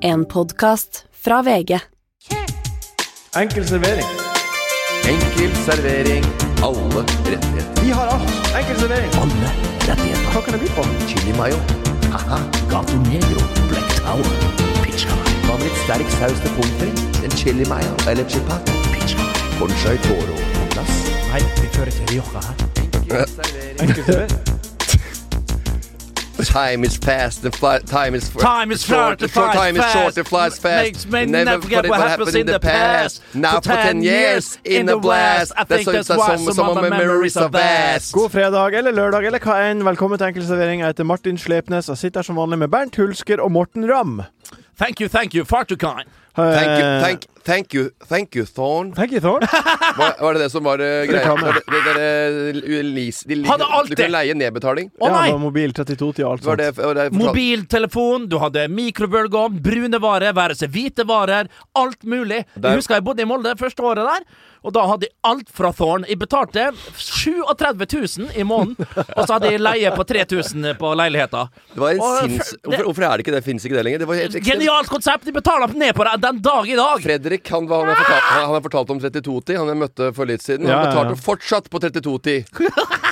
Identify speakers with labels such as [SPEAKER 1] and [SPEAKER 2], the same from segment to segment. [SPEAKER 1] En podkast fra VG.
[SPEAKER 2] Enkel servering.
[SPEAKER 3] Enkel servering. Alle rettigheter.
[SPEAKER 2] Vi har alt. Enkel servering.
[SPEAKER 3] Alle rettigheter.
[SPEAKER 2] Hva kan det by på?
[SPEAKER 3] Chili mayo. Haha. Gato negro. Black tower. Pizza. Hva med litt sterk saus til pommes frites? En chili mayo eller chipat? Pizza. Conchai toro på plass.
[SPEAKER 4] Nei, vi fører til Rioja her.
[SPEAKER 2] Enkel servering.
[SPEAKER 3] Uh, Time is fast and fly, time is fr-
[SPEAKER 4] Time is
[SPEAKER 3] short,
[SPEAKER 4] fast and
[SPEAKER 3] short,
[SPEAKER 4] flies
[SPEAKER 3] time is short
[SPEAKER 4] fast.
[SPEAKER 3] and flies fast.
[SPEAKER 4] Makes men never forget what happens in the past.
[SPEAKER 3] Now for ten years in the blast.
[SPEAKER 4] I think that's why some of my memories are vast.
[SPEAKER 2] God fredag eller lørdag eller hva enn. Velkommen til Enkel servering. Jeg heter Martin Slepnes og sitter her som vanlig med Bernt Hulsker og Morten Ramm.
[SPEAKER 4] Thank you, thank you, far too kind.
[SPEAKER 3] Thank you,
[SPEAKER 2] Uh,
[SPEAKER 3] thank, thank you, thank you, Thorn.
[SPEAKER 2] Thank you, Thorn.
[SPEAKER 3] Var, var det det som var eh, greia?
[SPEAKER 2] Reklame.
[SPEAKER 3] Var det, det, der, eh, lease, de,
[SPEAKER 4] Hadde alt
[SPEAKER 3] du
[SPEAKER 4] det.
[SPEAKER 3] kunne leie nedbetaling.
[SPEAKER 4] Å
[SPEAKER 2] ja, det var
[SPEAKER 4] nei!
[SPEAKER 2] mobil 32 til alt
[SPEAKER 3] Var
[SPEAKER 2] sånt.
[SPEAKER 3] det, var det fortalt-
[SPEAKER 4] Mobiltelefon, du hadde mikrobølgeovn, brune varer, være seg hvite varer, alt mulig.
[SPEAKER 3] Der-
[SPEAKER 4] Jeg husker jeg bodde i Molde første året der, og da hadde jeg alt fra Thorn. Jeg betalte 37 000 i måneden, og så hadde jeg leie på 3000 på leiligheta.
[SPEAKER 3] det var
[SPEAKER 4] Å,
[SPEAKER 3] en sinns...
[SPEAKER 4] det-
[SPEAKER 3] Hvorfor, hvorfor er det ikke det? Fins ikke det lenger? Det var helt ekstremt.
[SPEAKER 4] Genialt konsept! De betaler ned på det den dag i dag.
[SPEAKER 3] Fredrik han, var- han, har fortalt, han, han har fortalt om 3210, han jeg møtte for litt siden.
[SPEAKER 2] Ja, ja,
[SPEAKER 3] han
[SPEAKER 2] ja.
[SPEAKER 3] betalte fortsatt på 3210.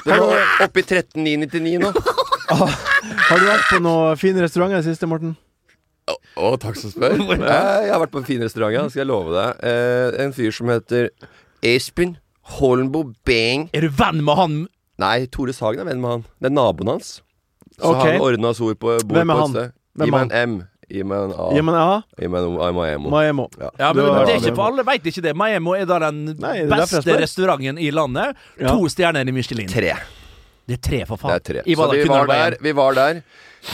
[SPEAKER 3] Det var oppe i 13999 nå. Å,
[SPEAKER 2] Har du vært på noen fin restaurant i det siste, Morten?
[SPEAKER 3] å, takk som spør. Eh, Jeg har vært på en fin restaurant, ja, skal jeg love deg. Eh, en fyr som heter Espen Holmbo Beng.
[SPEAKER 4] Er du venn med han?
[SPEAKER 3] Nei, Tore Sagen er venn med han. Det er naboen hans. Så
[SPEAKER 2] Ok.
[SPEAKER 3] han ordna oss ord på bord
[SPEAKER 2] Hvem er
[SPEAKER 3] på
[SPEAKER 2] han?
[SPEAKER 3] et sted.
[SPEAKER 2] Hvem er
[SPEAKER 3] Gi meg en M. Gi meg en A.
[SPEAKER 2] Ja, men ja.
[SPEAKER 3] Gi meg en O. Gi meg en O.
[SPEAKER 2] Maemo.
[SPEAKER 3] Ja.
[SPEAKER 4] Ja, men
[SPEAKER 2] Du har-
[SPEAKER 4] det er ikke for Alle veit ikke det. Maemo er da den
[SPEAKER 2] Nei, det er derfor jeg
[SPEAKER 4] beste
[SPEAKER 2] spør.
[SPEAKER 4] restauranten i landet.
[SPEAKER 2] Ja.
[SPEAKER 4] To stjerner i Michelin.
[SPEAKER 3] Tre.
[SPEAKER 4] Det er tre, for
[SPEAKER 3] Det
[SPEAKER 4] faen.
[SPEAKER 3] er tre.
[SPEAKER 4] I
[SPEAKER 3] Så
[SPEAKER 4] Valhall
[SPEAKER 3] vi var
[SPEAKER 4] kunne det være
[SPEAKER 3] der. Vi var der.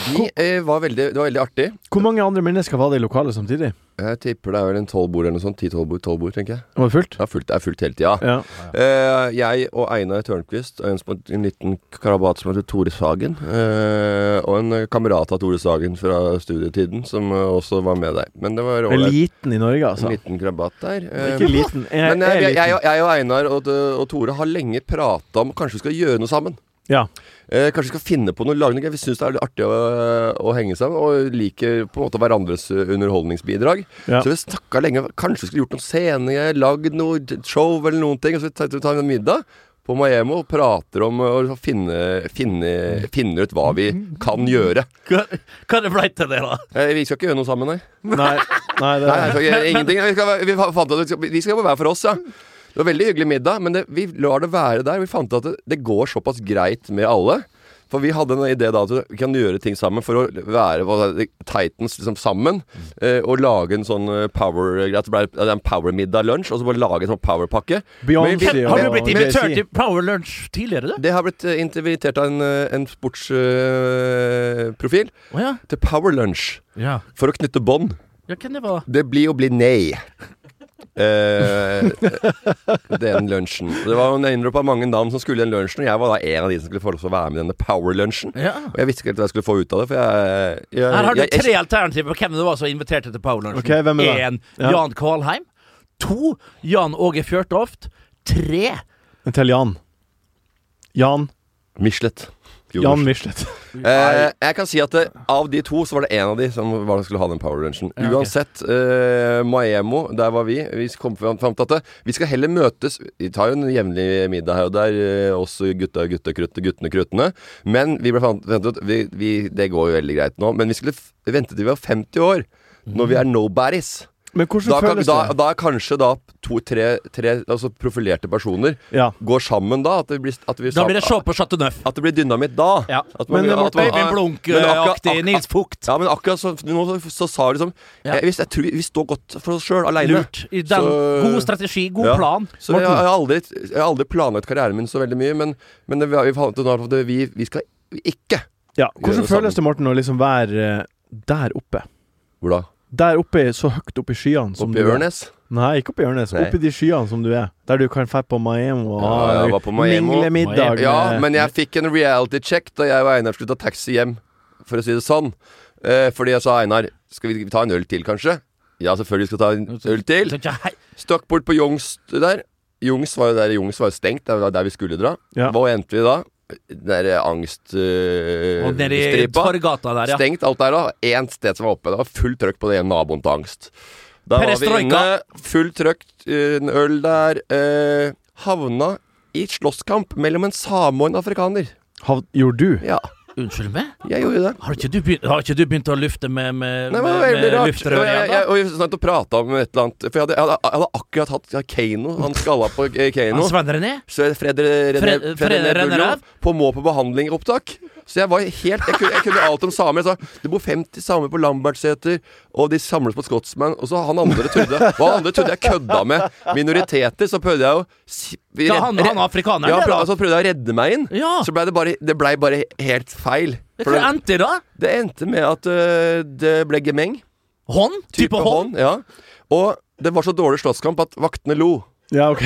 [SPEAKER 3] Vi, eh, var veldig, det var veldig artig.
[SPEAKER 2] Hvor mange andre mennesker var det i lokalet samtidig?
[SPEAKER 3] Jeg tipper det er vel en tolv bord eller noe sånt. Ti-tolv bord, 12 bord, tenker jeg.
[SPEAKER 2] Var det fullt?
[SPEAKER 3] Det er fullt, det er fullt hele tida.
[SPEAKER 2] Ja.
[SPEAKER 3] Eh, jeg og Einar Tørnquist og en, som- en liten karabat som heter Tore Sagen, eh, og en eh, kamerat av Tore Sagen fra studietiden, som eh, også var med der. Men det var
[SPEAKER 2] Det er
[SPEAKER 3] ålreit.
[SPEAKER 2] liten i Norge, altså.
[SPEAKER 3] En liten krabat der. eh,
[SPEAKER 2] Ikke liten. Jeg,
[SPEAKER 3] Men jeg,
[SPEAKER 2] jeg er
[SPEAKER 3] jeg, jeg,
[SPEAKER 2] liten.
[SPEAKER 3] og- jeg og Einar og, og Tore har lenge prata om kanskje vi skal gjøre noe sammen.
[SPEAKER 2] Ja.
[SPEAKER 3] Eh, kanskje vi skal finne på noe lage noe gøy. Vi syns det er litt artig å, å henge sammen, og liker på en måte hverandres eh, underholdningsbidrag.
[SPEAKER 2] Ja.
[SPEAKER 3] Så vi snakka lenge. Kanskje vi skulle gjort noen scener, lagd noe show eller noen ting. Og så tar tar vi en middag på Maemo og prater om eh, å finne, finne, finne ut hva vi
[SPEAKER 2] Mm.
[SPEAKER 3] kan gjøre.
[SPEAKER 4] Hva, hva det ble til det, da?
[SPEAKER 3] Eh, vi skal ikke gjøre noe sammen, nei.
[SPEAKER 2] Nei, nei, det
[SPEAKER 3] Nei, nei, vi skal gjøre ingenting. Vi, skal, være- vi fant ut at vi skal, vi skal være hver for oss, ja. Det var veldig hyggelig middag, men det, vi lar det være der. Vi fant ut at det, det går såpass greit med alle. For vi hadde en idé da at vi kan gjøre ting sammen for å være hva det- Titans liksom sammen. Eh, og lage en sånn eh, power At det ble det er en power-middag-lunsj, og så bare lage en sånn power-pakke.
[SPEAKER 2] Beyoncé
[SPEAKER 3] Men vi-
[SPEAKER 2] og-
[SPEAKER 4] Har du blitt
[SPEAKER 2] og
[SPEAKER 4] invitert
[SPEAKER 2] JC.
[SPEAKER 4] til Power Lunch tidligere, du?
[SPEAKER 3] Det har blitt eh, invitert av en, eh, en sportsprofil eh,
[SPEAKER 4] Å ja.
[SPEAKER 3] til power lunch
[SPEAKER 4] ja.
[SPEAKER 3] for å knytte bånd.
[SPEAKER 4] Ja, hvem det
[SPEAKER 2] Eh,
[SPEAKER 4] var?
[SPEAKER 3] Det blir jo bli nei. Eh, den lunsjen. Det var en innrømpa mange navn som skulle i den lunsjen, og jeg var da en av de som skulle få lov til å være med i denne Power-lunsjen.
[SPEAKER 4] Ja.
[SPEAKER 3] Og jeg visste ikke helt hva jeg skulle få ut av det, for jeg, jeg,
[SPEAKER 4] Her har du
[SPEAKER 3] jeg, jeg,
[SPEAKER 4] tre alternativer på hvem det var som inviterte til Power Lunch.
[SPEAKER 2] Ok, hvem er det?
[SPEAKER 4] En,
[SPEAKER 2] Ja.
[SPEAKER 4] Jan Kvalheim. To, Jan Åge Fjørtoft. Tre
[SPEAKER 2] Men Til Jan. Jan.
[SPEAKER 3] Michelet.
[SPEAKER 2] Jan Michelet.
[SPEAKER 3] Eh, jeg kan si at eh, av de to, så var det en av de som var som skulle ha den powerlunsjen.
[SPEAKER 4] Ja, ok.
[SPEAKER 3] Uansett, eh, Maemo, der var vi. Vi kom fram fram til at eh, vi skal heller møtes Vi tar jo en jevnlig middag her og der, eh, også gutta, gutta, krutt, guttene, kruttene. Men vi ble fant, fant ut vi, vi, Det går jo veldig greit nå, men vi skulle f vente til vi var 50 år. Når vi er
[SPEAKER 4] Mm.
[SPEAKER 3] nobodies.
[SPEAKER 2] Men hvordan
[SPEAKER 3] Da, kan,
[SPEAKER 2] føles
[SPEAKER 3] da,
[SPEAKER 2] det?
[SPEAKER 3] da er kanskje da to, tre, tre altså profilerte personer
[SPEAKER 2] Ja.
[SPEAKER 3] går sammen da. At det blir, at vi
[SPEAKER 4] Da blir det
[SPEAKER 3] sam-
[SPEAKER 4] show på Chateau Neuf.
[SPEAKER 3] at det blir dynamitt da.
[SPEAKER 4] Ja. eh,
[SPEAKER 3] At man-
[SPEAKER 2] Men det må-
[SPEAKER 3] at man-
[SPEAKER 4] Øyvind
[SPEAKER 3] Men akkurat-
[SPEAKER 4] Blunk-aktig
[SPEAKER 3] ak-
[SPEAKER 4] Nils Fugt.
[SPEAKER 3] Ja, men akkurat så, nå så, så sa vi liksom
[SPEAKER 4] Ja.
[SPEAKER 3] jeg, hvis, jeg tror vi, vi står godt for oss sjøl, aleine.
[SPEAKER 4] Lurt. I den,
[SPEAKER 3] Så-
[SPEAKER 4] god strategi, god
[SPEAKER 3] Ja.
[SPEAKER 4] plan.
[SPEAKER 3] Så jeg, jeg, har aldri, jeg har aldri planlagt karrieren min så veldig mye, men, men det, vi, har- vi, fant ut nå at vi, vi skal ikke
[SPEAKER 2] ja.
[SPEAKER 3] Gjør
[SPEAKER 2] Hvordan
[SPEAKER 3] det
[SPEAKER 2] føles
[SPEAKER 3] sammen.
[SPEAKER 2] det, Morten, å liksom være eh, der oppe?
[SPEAKER 3] Hvor da?
[SPEAKER 2] Der oppe, så høyt oppe i skyene som
[SPEAKER 3] Oppe i
[SPEAKER 2] du er.
[SPEAKER 3] Ørnes?
[SPEAKER 2] Nei, ikke oppe i Ørnes.
[SPEAKER 3] Nei.
[SPEAKER 2] Oppe i de skyene som du er. Der du kan dra på Maemo og
[SPEAKER 3] Ja, jeg var på Maemo.
[SPEAKER 2] minglemiddag.
[SPEAKER 3] Ja,
[SPEAKER 2] med-
[SPEAKER 3] men jeg fikk en reality check da jeg og Einar skulle ta taxi hjem, for å si det sånn. Eh, fordi jeg sa Einar, skal vi ta en øl til, kanskje? Ja, selvfølgelig skal vi ta en øl til.
[SPEAKER 4] Så ikke hei-
[SPEAKER 3] Stakk bort på Youngs der. Youngs var jo der Youngs var jo stengt, det var der vi skulle dra.
[SPEAKER 2] Ja.
[SPEAKER 3] Hva endte vi da? den der Eh,
[SPEAKER 4] Og nede i
[SPEAKER 3] angststripa.
[SPEAKER 4] Torgata der, ja.
[SPEAKER 3] Stengt alt der, da. Én sted som var oppe. Det var fullt trøkk på det ene naboen til angst. Da var vi
[SPEAKER 4] Perestroika.
[SPEAKER 3] inne, fullt trøkk, eh, en øl der. Eh, havna i slåsskamp mellom en same og en afrikaner.
[SPEAKER 2] Hav, gjorde du?
[SPEAKER 3] Ja,
[SPEAKER 4] Unnskyld meg?
[SPEAKER 3] jeg gjorde det.
[SPEAKER 4] Har ikke du begynt, har ikke du begynt å lufte med, med,
[SPEAKER 3] Nei, men det var
[SPEAKER 4] med,
[SPEAKER 3] veldig
[SPEAKER 4] med
[SPEAKER 3] rart.
[SPEAKER 4] eh, luftrør
[SPEAKER 3] Og jeg,
[SPEAKER 4] igjen, da?
[SPEAKER 3] jeg, og jeg snakket og prata om et eller annet For jeg hadde, jeg hadde, jeg hadde akkurat hatt Kano, han skalla på eh, Kano.
[SPEAKER 4] Ja, Svein René?
[SPEAKER 3] Så Fredrik René-
[SPEAKER 4] Fred- Fred-
[SPEAKER 3] Fred René
[SPEAKER 4] René
[SPEAKER 3] Bullov
[SPEAKER 4] Ræv?
[SPEAKER 3] på må på behandling og opptak. Så jeg var helt Jeg kunne, jeg kunne alt om samer. Jeg sa det bor 50 samer på Lambertseter, og de samles på Scotsman. Og så han andre trodde Hva han andre trodde jeg kødda med minoriteter, så prøvde jeg å si-
[SPEAKER 4] Ja, han,
[SPEAKER 3] re-
[SPEAKER 4] han afrikaneren,
[SPEAKER 3] ja,
[SPEAKER 4] det,
[SPEAKER 3] prøvde,
[SPEAKER 4] da?
[SPEAKER 3] så prøvde jeg å redde meg inn.
[SPEAKER 4] Ja.
[SPEAKER 3] Så blei det bare Det blei bare helt feil. For
[SPEAKER 4] Hva
[SPEAKER 3] det,
[SPEAKER 4] endte det, da?
[SPEAKER 3] det endte med at øh, det ble gemeng.
[SPEAKER 4] Hånd? Type, hånd?
[SPEAKER 3] Ja. Og det var så dårlig slåsskamp at vaktene lo.
[SPEAKER 2] Ja, ok.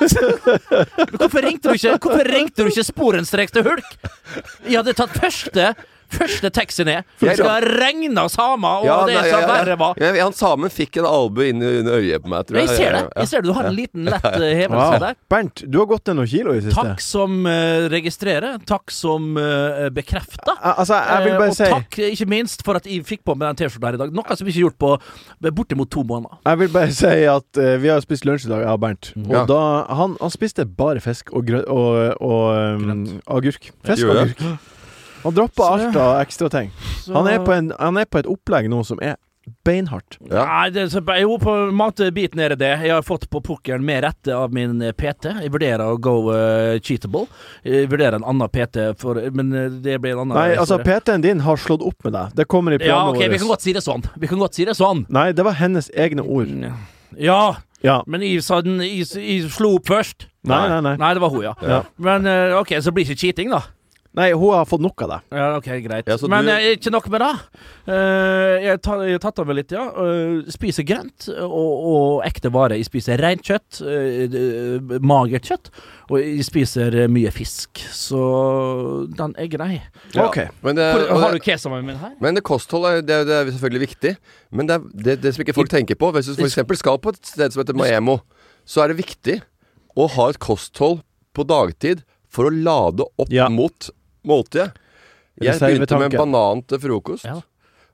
[SPEAKER 4] Hvorfor ringte du ikke Hvorfor ringte du ikke sporenstreks til Hulk? Jeg hadde tatt første Første taxi ned. For
[SPEAKER 3] Jeg-
[SPEAKER 4] det skal regne samer, og det
[SPEAKER 3] nei,
[SPEAKER 4] som
[SPEAKER 3] ja, ja.
[SPEAKER 4] verre var.
[SPEAKER 3] Ja, han samen fikk en albue inn under øyet på meg, tror
[SPEAKER 4] Jeg
[SPEAKER 3] jeg.
[SPEAKER 4] ser det.
[SPEAKER 3] Ja,
[SPEAKER 4] Jeg ser det. Du har en liten lett eh, hevelse
[SPEAKER 2] Wow.
[SPEAKER 4] der.
[SPEAKER 2] Bernt, du har gått ned noen kilo i det siste.
[SPEAKER 4] Takk som eh, registrerer. Takk som eh, bekrefter.
[SPEAKER 2] Al- Altså, jeg vil
[SPEAKER 4] Eh,
[SPEAKER 2] bare
[SPEAKER 4] og
[SPEAKER 2] si
[SPEAKER 4] takk eh, ikke minst for at jeg fikk på meg den T-skjorta her i dag. Noe som ikke er gjort på eh, bortimot to måneder.
[SPEAKER 2] Jeg vil bare si at eh, vi har spist lunsj i dag, jeg og Bernt. Og
[SPEAKER 3] Ja.
[SPEAKER 2] da, han, han spiste bare fisk og, grø og, og um,
[SPEAKER 4] Grønt.
[SPEAKER 2] agurk. Fisk og
[SPEAKER 3] Gjorde
[SPEAKER 2] agurk. Han droppa
[SPEAKER 4] Så-
[SPEAKER 2] alt av ekstra ting.
[SPEAKER 4] Så-
[SPEAKER 2] Han er, på en, han er på et opplegg nå som er beinhardt.
[SPEAKER 3] Ja.
[SPEAKER 4] Nei, det, så, jo, på matebiten er det det. Jeg har fått på pukkelen med rette av min eh, PT. Jeg vurderer å go eh, cheatable. Jeg vurderer en annen PT, for, men eh, det blir en annen
[SPEAKER 2] Nei, altså,
[SPEAKER 4] historie.
[SPEAKER 2] PT-en din har slått opp med deg. Det kommer i
[SPEAKER 4] Ja,
[SPEAKER 2] programmet
[SPEAKER 4] ok, vi kan
[SPEAKER 2] vårt.
[SPEAKER 4] godt si det sånn. Vi kan godt si det sånn.
[SPEAKER 2] Nei, det var hennes egne ord.
[SPEAKER 4] Ja,
[SPEAKER 2] Ja.
[SPEAKER 4] men jeg, sa den, jeg, jeg slo opp først.
[SPEAKER 2] Nei, nei, nei.
[SPEAKER 4] Nei, det var hun, ja.
[SPEAKER 2] Ja.
[SPEAKER 4] Men eh, ok, så blir det ikke cheating, da.
[SPEAKER 2] Nei, hun har fått nok av deg.
[SPEAKER 4] Ja, ok, greit.
[SPEAKER 3] Ja, så
[SPEAKER 4] Men
[SPEAKER 3] du-
[SPEAKER 4] eh, ikke nok med det. Eh, jeg, tar, jeg har tatt over litt, ja. Eh, spiser grønt og, og ekte vare. Jeg spiser rent kjøtt, eh, eh, magert kjøtt, og jeg spiser eh, mye fisk. Så den er grei.
[SPEAKER 3] Ja.
[SPEAKER 2] Ok.
[SPEAKER 3] Men, det,
[SPEAKER 4] Hvor,
[SPEAKER 3] Eh, og
[SPEAKER 4] har du
[SPEAKER 3] det,
[SPEAKER 4] kesamen min her?
[SPEAKER 3] men det kosthold er, det, er- det er selvfølgelig viktig. Men det, er, det, det som ikke folk tenker på Hvis du f.eks. skal på et sted som heter Maemo, så er det viktig å ha et kosthold på dagtid for å lade opp
[SPEAKER 2] Ja.
[SPEAKER 3] mot måltidet. Jeg
[SPEAKER 2] Reservetanke.
[SPEAKER 3] begynte med en banan til frokost.
[SPEAKER 4] Ja.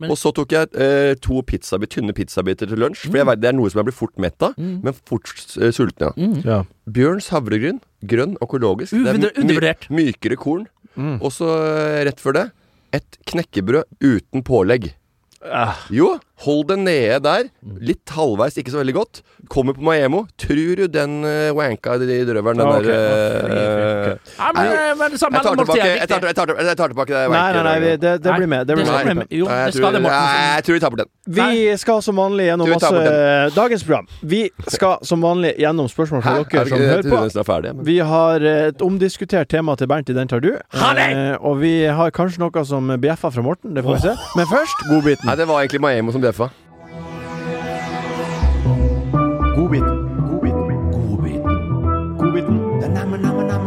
[SPEAKER 4] Men-
[SPEAKER 3] Og så tok jeg eh, to pizzabit, tynne pizzabiter til lunsj.
[SPEAKER 4] Mm.
[SPEAKER 3] For jeg vet, det er noe som jeg blir fort mett av, men fort eh, sulten av.
[SPEAKER 2] Ja.
[SPEAKER 3] Bjørns havregryn. Grønn, økologisk. my-
[SPEAKER 4] Uvinder-
[SPEAKER 3] my-
[SPEAKER 4] Uh, undervurdert.
[SPEAKER 3] Mykere korn.
[SPEAKER 2] Mm.
[SPEAKER 3] Og så eh, rett før det et knekkebrød uten pålegg.
[SPEAKER 4] Ah.
[SPEAKER 3] Jo, hold det nede der.
[SPEAKER 2] Mm.
[SPEAKER 3] Litt halvveis, ikke så veldig godt. Kommer på Maemo. Tror du den eh, wanka i drøvelen, den
[SPEAKER 2] Ah, ok.
[SPEAKER 3] der eh,
[SPEAKER 4] Nei, men,
[SPEAKER 3] Nei.
[SPEAKER 4] men det samme
[SPEAKER 3] Jeg tar
[SPEAKER 4] mellommåltid
[SPEAKER 3] tilbake
[SPEAKER 4] er
[SPEAKER 3] jeg tar,
[SPEAKER 4] viktig.
[SPEAKER 3] jeg tar, jeg tar tilbake det
[SPEAKER 2] Nei, nei, nei, vi-
[SPEAKER 3] wanka-drøvelen.
[SPEAKER 2] det, det blir med. Det blir
[SPEAKER 4] Nei,
[SPEAKER 2] med.
[SPEAKER 4] det skal- Jo, det skal
[SPEAKER 3] Nei,
[SPEAKER 4] det, Morten.
[SPEAKER 3] jeg tror vi tar bort den.
[SPEAKER 2] Vi skal som vanlig gjennom
[SPEAKER 3] Du tar bort
[SPEAKER 2] masse Dagens program. Vi skal som vanlig gjennom spørsmål fra
[SPEAKER 3] Jeg
[SPEAKER 2] dere som
[SPEAKER 3] tror
[SPEAKER 2] hører sånn på.
[SPEAKER 3] nesten er ferdig. Men.
[SPEAKER 2] Vi har eh, et omdiskutert tema til Bernt i Den tar du.
[SPEAKER 4] Ha det!
[SPEAKER 2] Eh, og vi har kanskje noe som bjeffer fra Morten. Det får vi se. Men først godbiten.
[SPEAKER 3] Nei, det var egentlig Maemo som bjeffa.
[SPEAKER 2] Godbiten. Godbiten. Godbiten.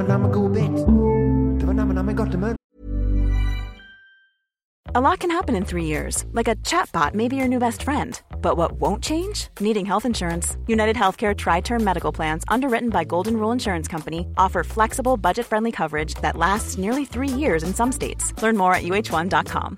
[SPEAKER 5] A lot can happen in three years, like a chatbot may be your new best friend. But what won't change? Needing health insurance. United Healthcare Tri Term Medical Plans, underwritten by Golden Rule Insurance Company, offer flexible, budget friendly coverage that lasts nearly three years in some states. Learn more at uh1.com.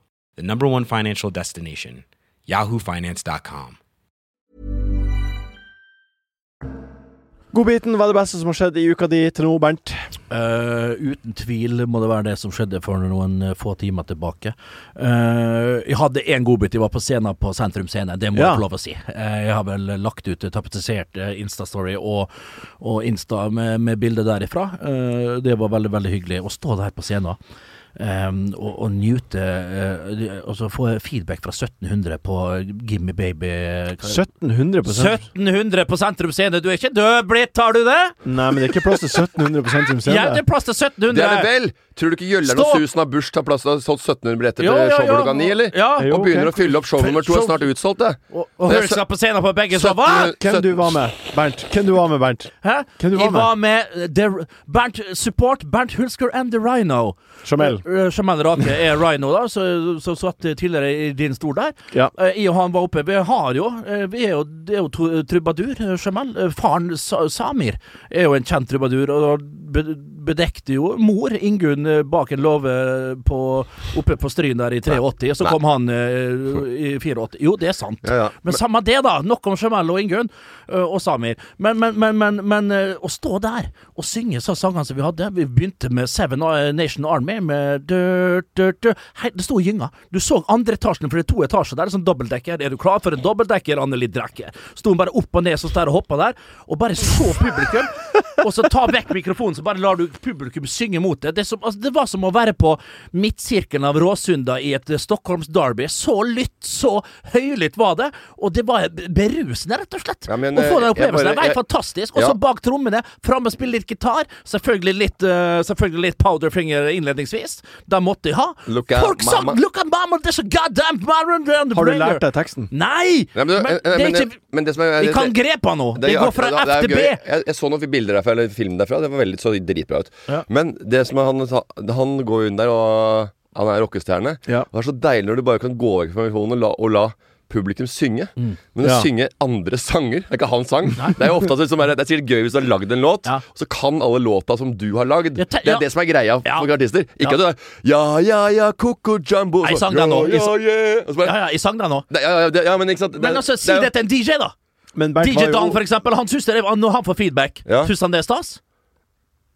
[SPEAKER 6] the number one financial destination, yahoofinance.com.
[SPEAKER 2] Godbiten var det beste som har skjedd i uka di til nå, Bernt.
[SPEAKER 4] Eh, uten tvil må det være det som skjedde for noen eh, få timer tilbake. Eh, jeg hadde én godbit. Jeg var på scenen på Sentrum Scene, det må
[SPEAKER 2] Ja.
[SPEAKER 4] jeg få lov å si. Eh, jeg har vel lagt ut eh, tapetsert eh, Insta-story og, og Insta med, med bilde derifra. Eh, det var veldig, veldig hyggelig å stå der på scenen. ehm, og, og nyte eh, Og så få feedback fra 1700 på Gimme Baby eh, hva-
[SPEAKER 2] 1700
[SPEAKER 4] 1700 på Sentrum Scene! Du er ikke død, blitt, har du det?
[SPEAKER 2] Nei, men det er ikke plass til 1700 på Sentrum Scene.
[SPEAKER 4] Ja, det er plass til
[SPEAKER 3] Det er det
[SPEAKER 4] 1700!
[SPEAKER 3] vel! Tror du ikke Jøllern og
[SPEAKER 4] Stå-
[SPEAKER 3] Susan har bursdag tar plass til å ha solgt 1700 billetter
[SPEAKER 4] Jo,
[SPEAKER 3] til
[SPEAKER 4] jo,
[SPEAKER 3] show
[SPEAKER 4] jo.
[SPEAKER 3] klokka ni, eller?
[SPEAKER 4] Ja.
[SPEAKER 2] Jo,
[SPEAKER 3] Og begynner
[SPEAKER 2] ok.
[SPEAKER 3] å fylle opp show nummer to, er snart utsolgt, det.
[SPEAKER 4] Og, og
[SPEAKER 3] Det er
[SPEAKER 4] Høl skal på scenen på begge, så hva?
[SPEAKER 3] 1700
[SPEAKER 2] Hvem du var med, Bernt? Hvem du var med, Bernt?
[SPEAKER 4] Hæ?
[SPEAKER 2] Hvem du var
[SPEAKER 4] Jeg var med eh, The- Bernt Support, Bernt Hulsker and The Rhino.
[SPEAKER 2] Jamel.
[SPEAKER 4] Eh, Jamal Rake er Rhino, da, som som satt tidligere i din stol der.
[SPEAKER 2] Ja.
[SPEAKER 4] Eh, Jeg og han var oppe. Vi har jo eh, Vi er jo, det er jo tru- trubadur, eh, Jamal. Eh, Faren Sa Samir er jo en kjent trubadur, og be- bedekte jo mor Ingunn eh, bak en låve på, oppe på Stryn der i 83, og så
[SPEAKER 3] Nei.
[SPEAKER 4] kom han eh, i 84. Jo, det er sant.
[SPEAKER 3] Ja, ja.
[SPEAKER 4] Men samme det, da. Nok om Jamal og Ingunn øh, og Samir. Men, men, men, men, men øh, å stå der og synge så sangene som vi hadde Vi begynte med Seven øh, Nation Army med dø, dø, dø. Hei, Det sto i gynga. Du så andre etasjen, for det er to etasjer der. Sånn dobbeltdekker. Er du klar for en dobbeltdekker, Anneli Drekke? Sto hun bare opp og ned sånn der og hoppa der, og bare så publikum. og så ta vekk mikrofonen, så bare lar du publikum synge mot det. Det, er som, altså, det var som å være på midtsirkelen av Råsunda i et eh, Stockholms derby. Så lytt, så høylytt var det. Og det var b- berusende, rett og slett.
[SPEAKER 3] Ja, men,
[SPEAKER 4] å få
[SPEAKER 3] eh,
[SPEAKER 4] den
[SPEAKER 3] jeg
[SPEAKER 4] opplevelsen.
[SPEAKER 3] bare-
[SPEAKER 4] Det var
[SPEAKER 3] jeg-
[SPEAKER 4] helt fantastisk. Og så
[SPEAKER 3] Ja.
[SPEAKER 4] bak trommene, fram og spille litt gitar. Selvfølgelig litt, eh, selvfølgelig litt powderfinger innledningsvis. Det måtte jeg ha.
[SPEAKER 3] Look at
[SPEAKER 4] Folk sang
[SPEAKER 3] mama.
[SPEAKER 4] 'Look at mama', there's a goddamn modern
[SPEAKER 2] Har du lært deg teksten?
[SPEAKER 4] Nei!
[SPEAKER 3] Nei, men,
[SPEAKER 4] men det
[SPEAKER 3] eh,
[SPEAKER 4] er
[SPEAKER 3] men,
[SPEAKER 4] ikke
[SPEAKER 3] men det som er
[SPEAKER 4] Vi kan
[SPEAKER 3] det-
[SPEAKER 4] grepa nå! Det
[SPEAKER 3] er
[SPEAKER 4] går
[SPEAKER 3] artig,
[SPEAKER 4] fra
[SPEAKER 3] det er-
[SPEAKER 4] F
[SPEAKER 3] det er
[SPEAKER 4] til
[SPEAKER 3] gøy.
[SPEAKER 4] B.
[SPEAKER 3] Jeg, jeg så noen bilder derfra, eller film derfra. Det var veldig så dritbra ut.
[SPEAKER 4] Ja.
[SPEAKER 3] Men det som er han, han går jo inn der, og han er rockestjerne.
[SPEAKER 2] Ja.
[SPEAKER 3] Og Det er så deilig når du bare kan gå vekk fra mikrofonen og la, og la publikum synge.
[SPEAKER 4] Mm.
[SPEAKER 3] Men å
[SPEAKER 2] Ja.
[SPEAKER 3] synge andre sanger Det er ikke hans sang. Det er jo ofte at det, som er, det er sikkert gøy hvis du har lagd en låt,
[SPEAKER 4] Ja.
[SPEAKER 3] og så kan alle låta som du har lagd.
[SPEAKER 4] Ja, te-
[SPEAKER 3] Det
[SPEAKER 4] ja.
[SPEAKER 3] er det som er greia for
[SPEAKER 4] Ja.
[SPEAKER 3] artister. Ikke
[SPEAKER 4] Ja.
[SPEAKER 3] at du er Ja, ja, ja, koko jumbo.
[SPEAKER 4] Nei,
[SPEAKER 3] og så,
[SPEAKER 4] sang den nå.
[SPEAKER 3] Ja, ja, yeah. Og så
[SPEAKER 4] Ja,
[SPEAKER 3] bare
[SPEAKER 4] ja, jeg sang det nå.
[SPEAKER 3] det- ja, ja, det- ja, men ikke sant
[SPEAKER 4] Men
[SPEAKER 3] det-
[SPEAKER 4] altså, si
[SPEAKER 3] det er jo-
[SPEAKER 4] det til en DJ, da!
[SPEAKER 2] Men Bernt
[SPEAKER 4] DJ Dan,
[SPEAKER 2] var
[SPEAKER 4] for
[SPEAKER 2] jo
[SPEAKER 4] eksempel. Han syns det er, Når han får feedback,
[SPEAKER 3] Ja.
[SPEAKER 4] syns han det er stas?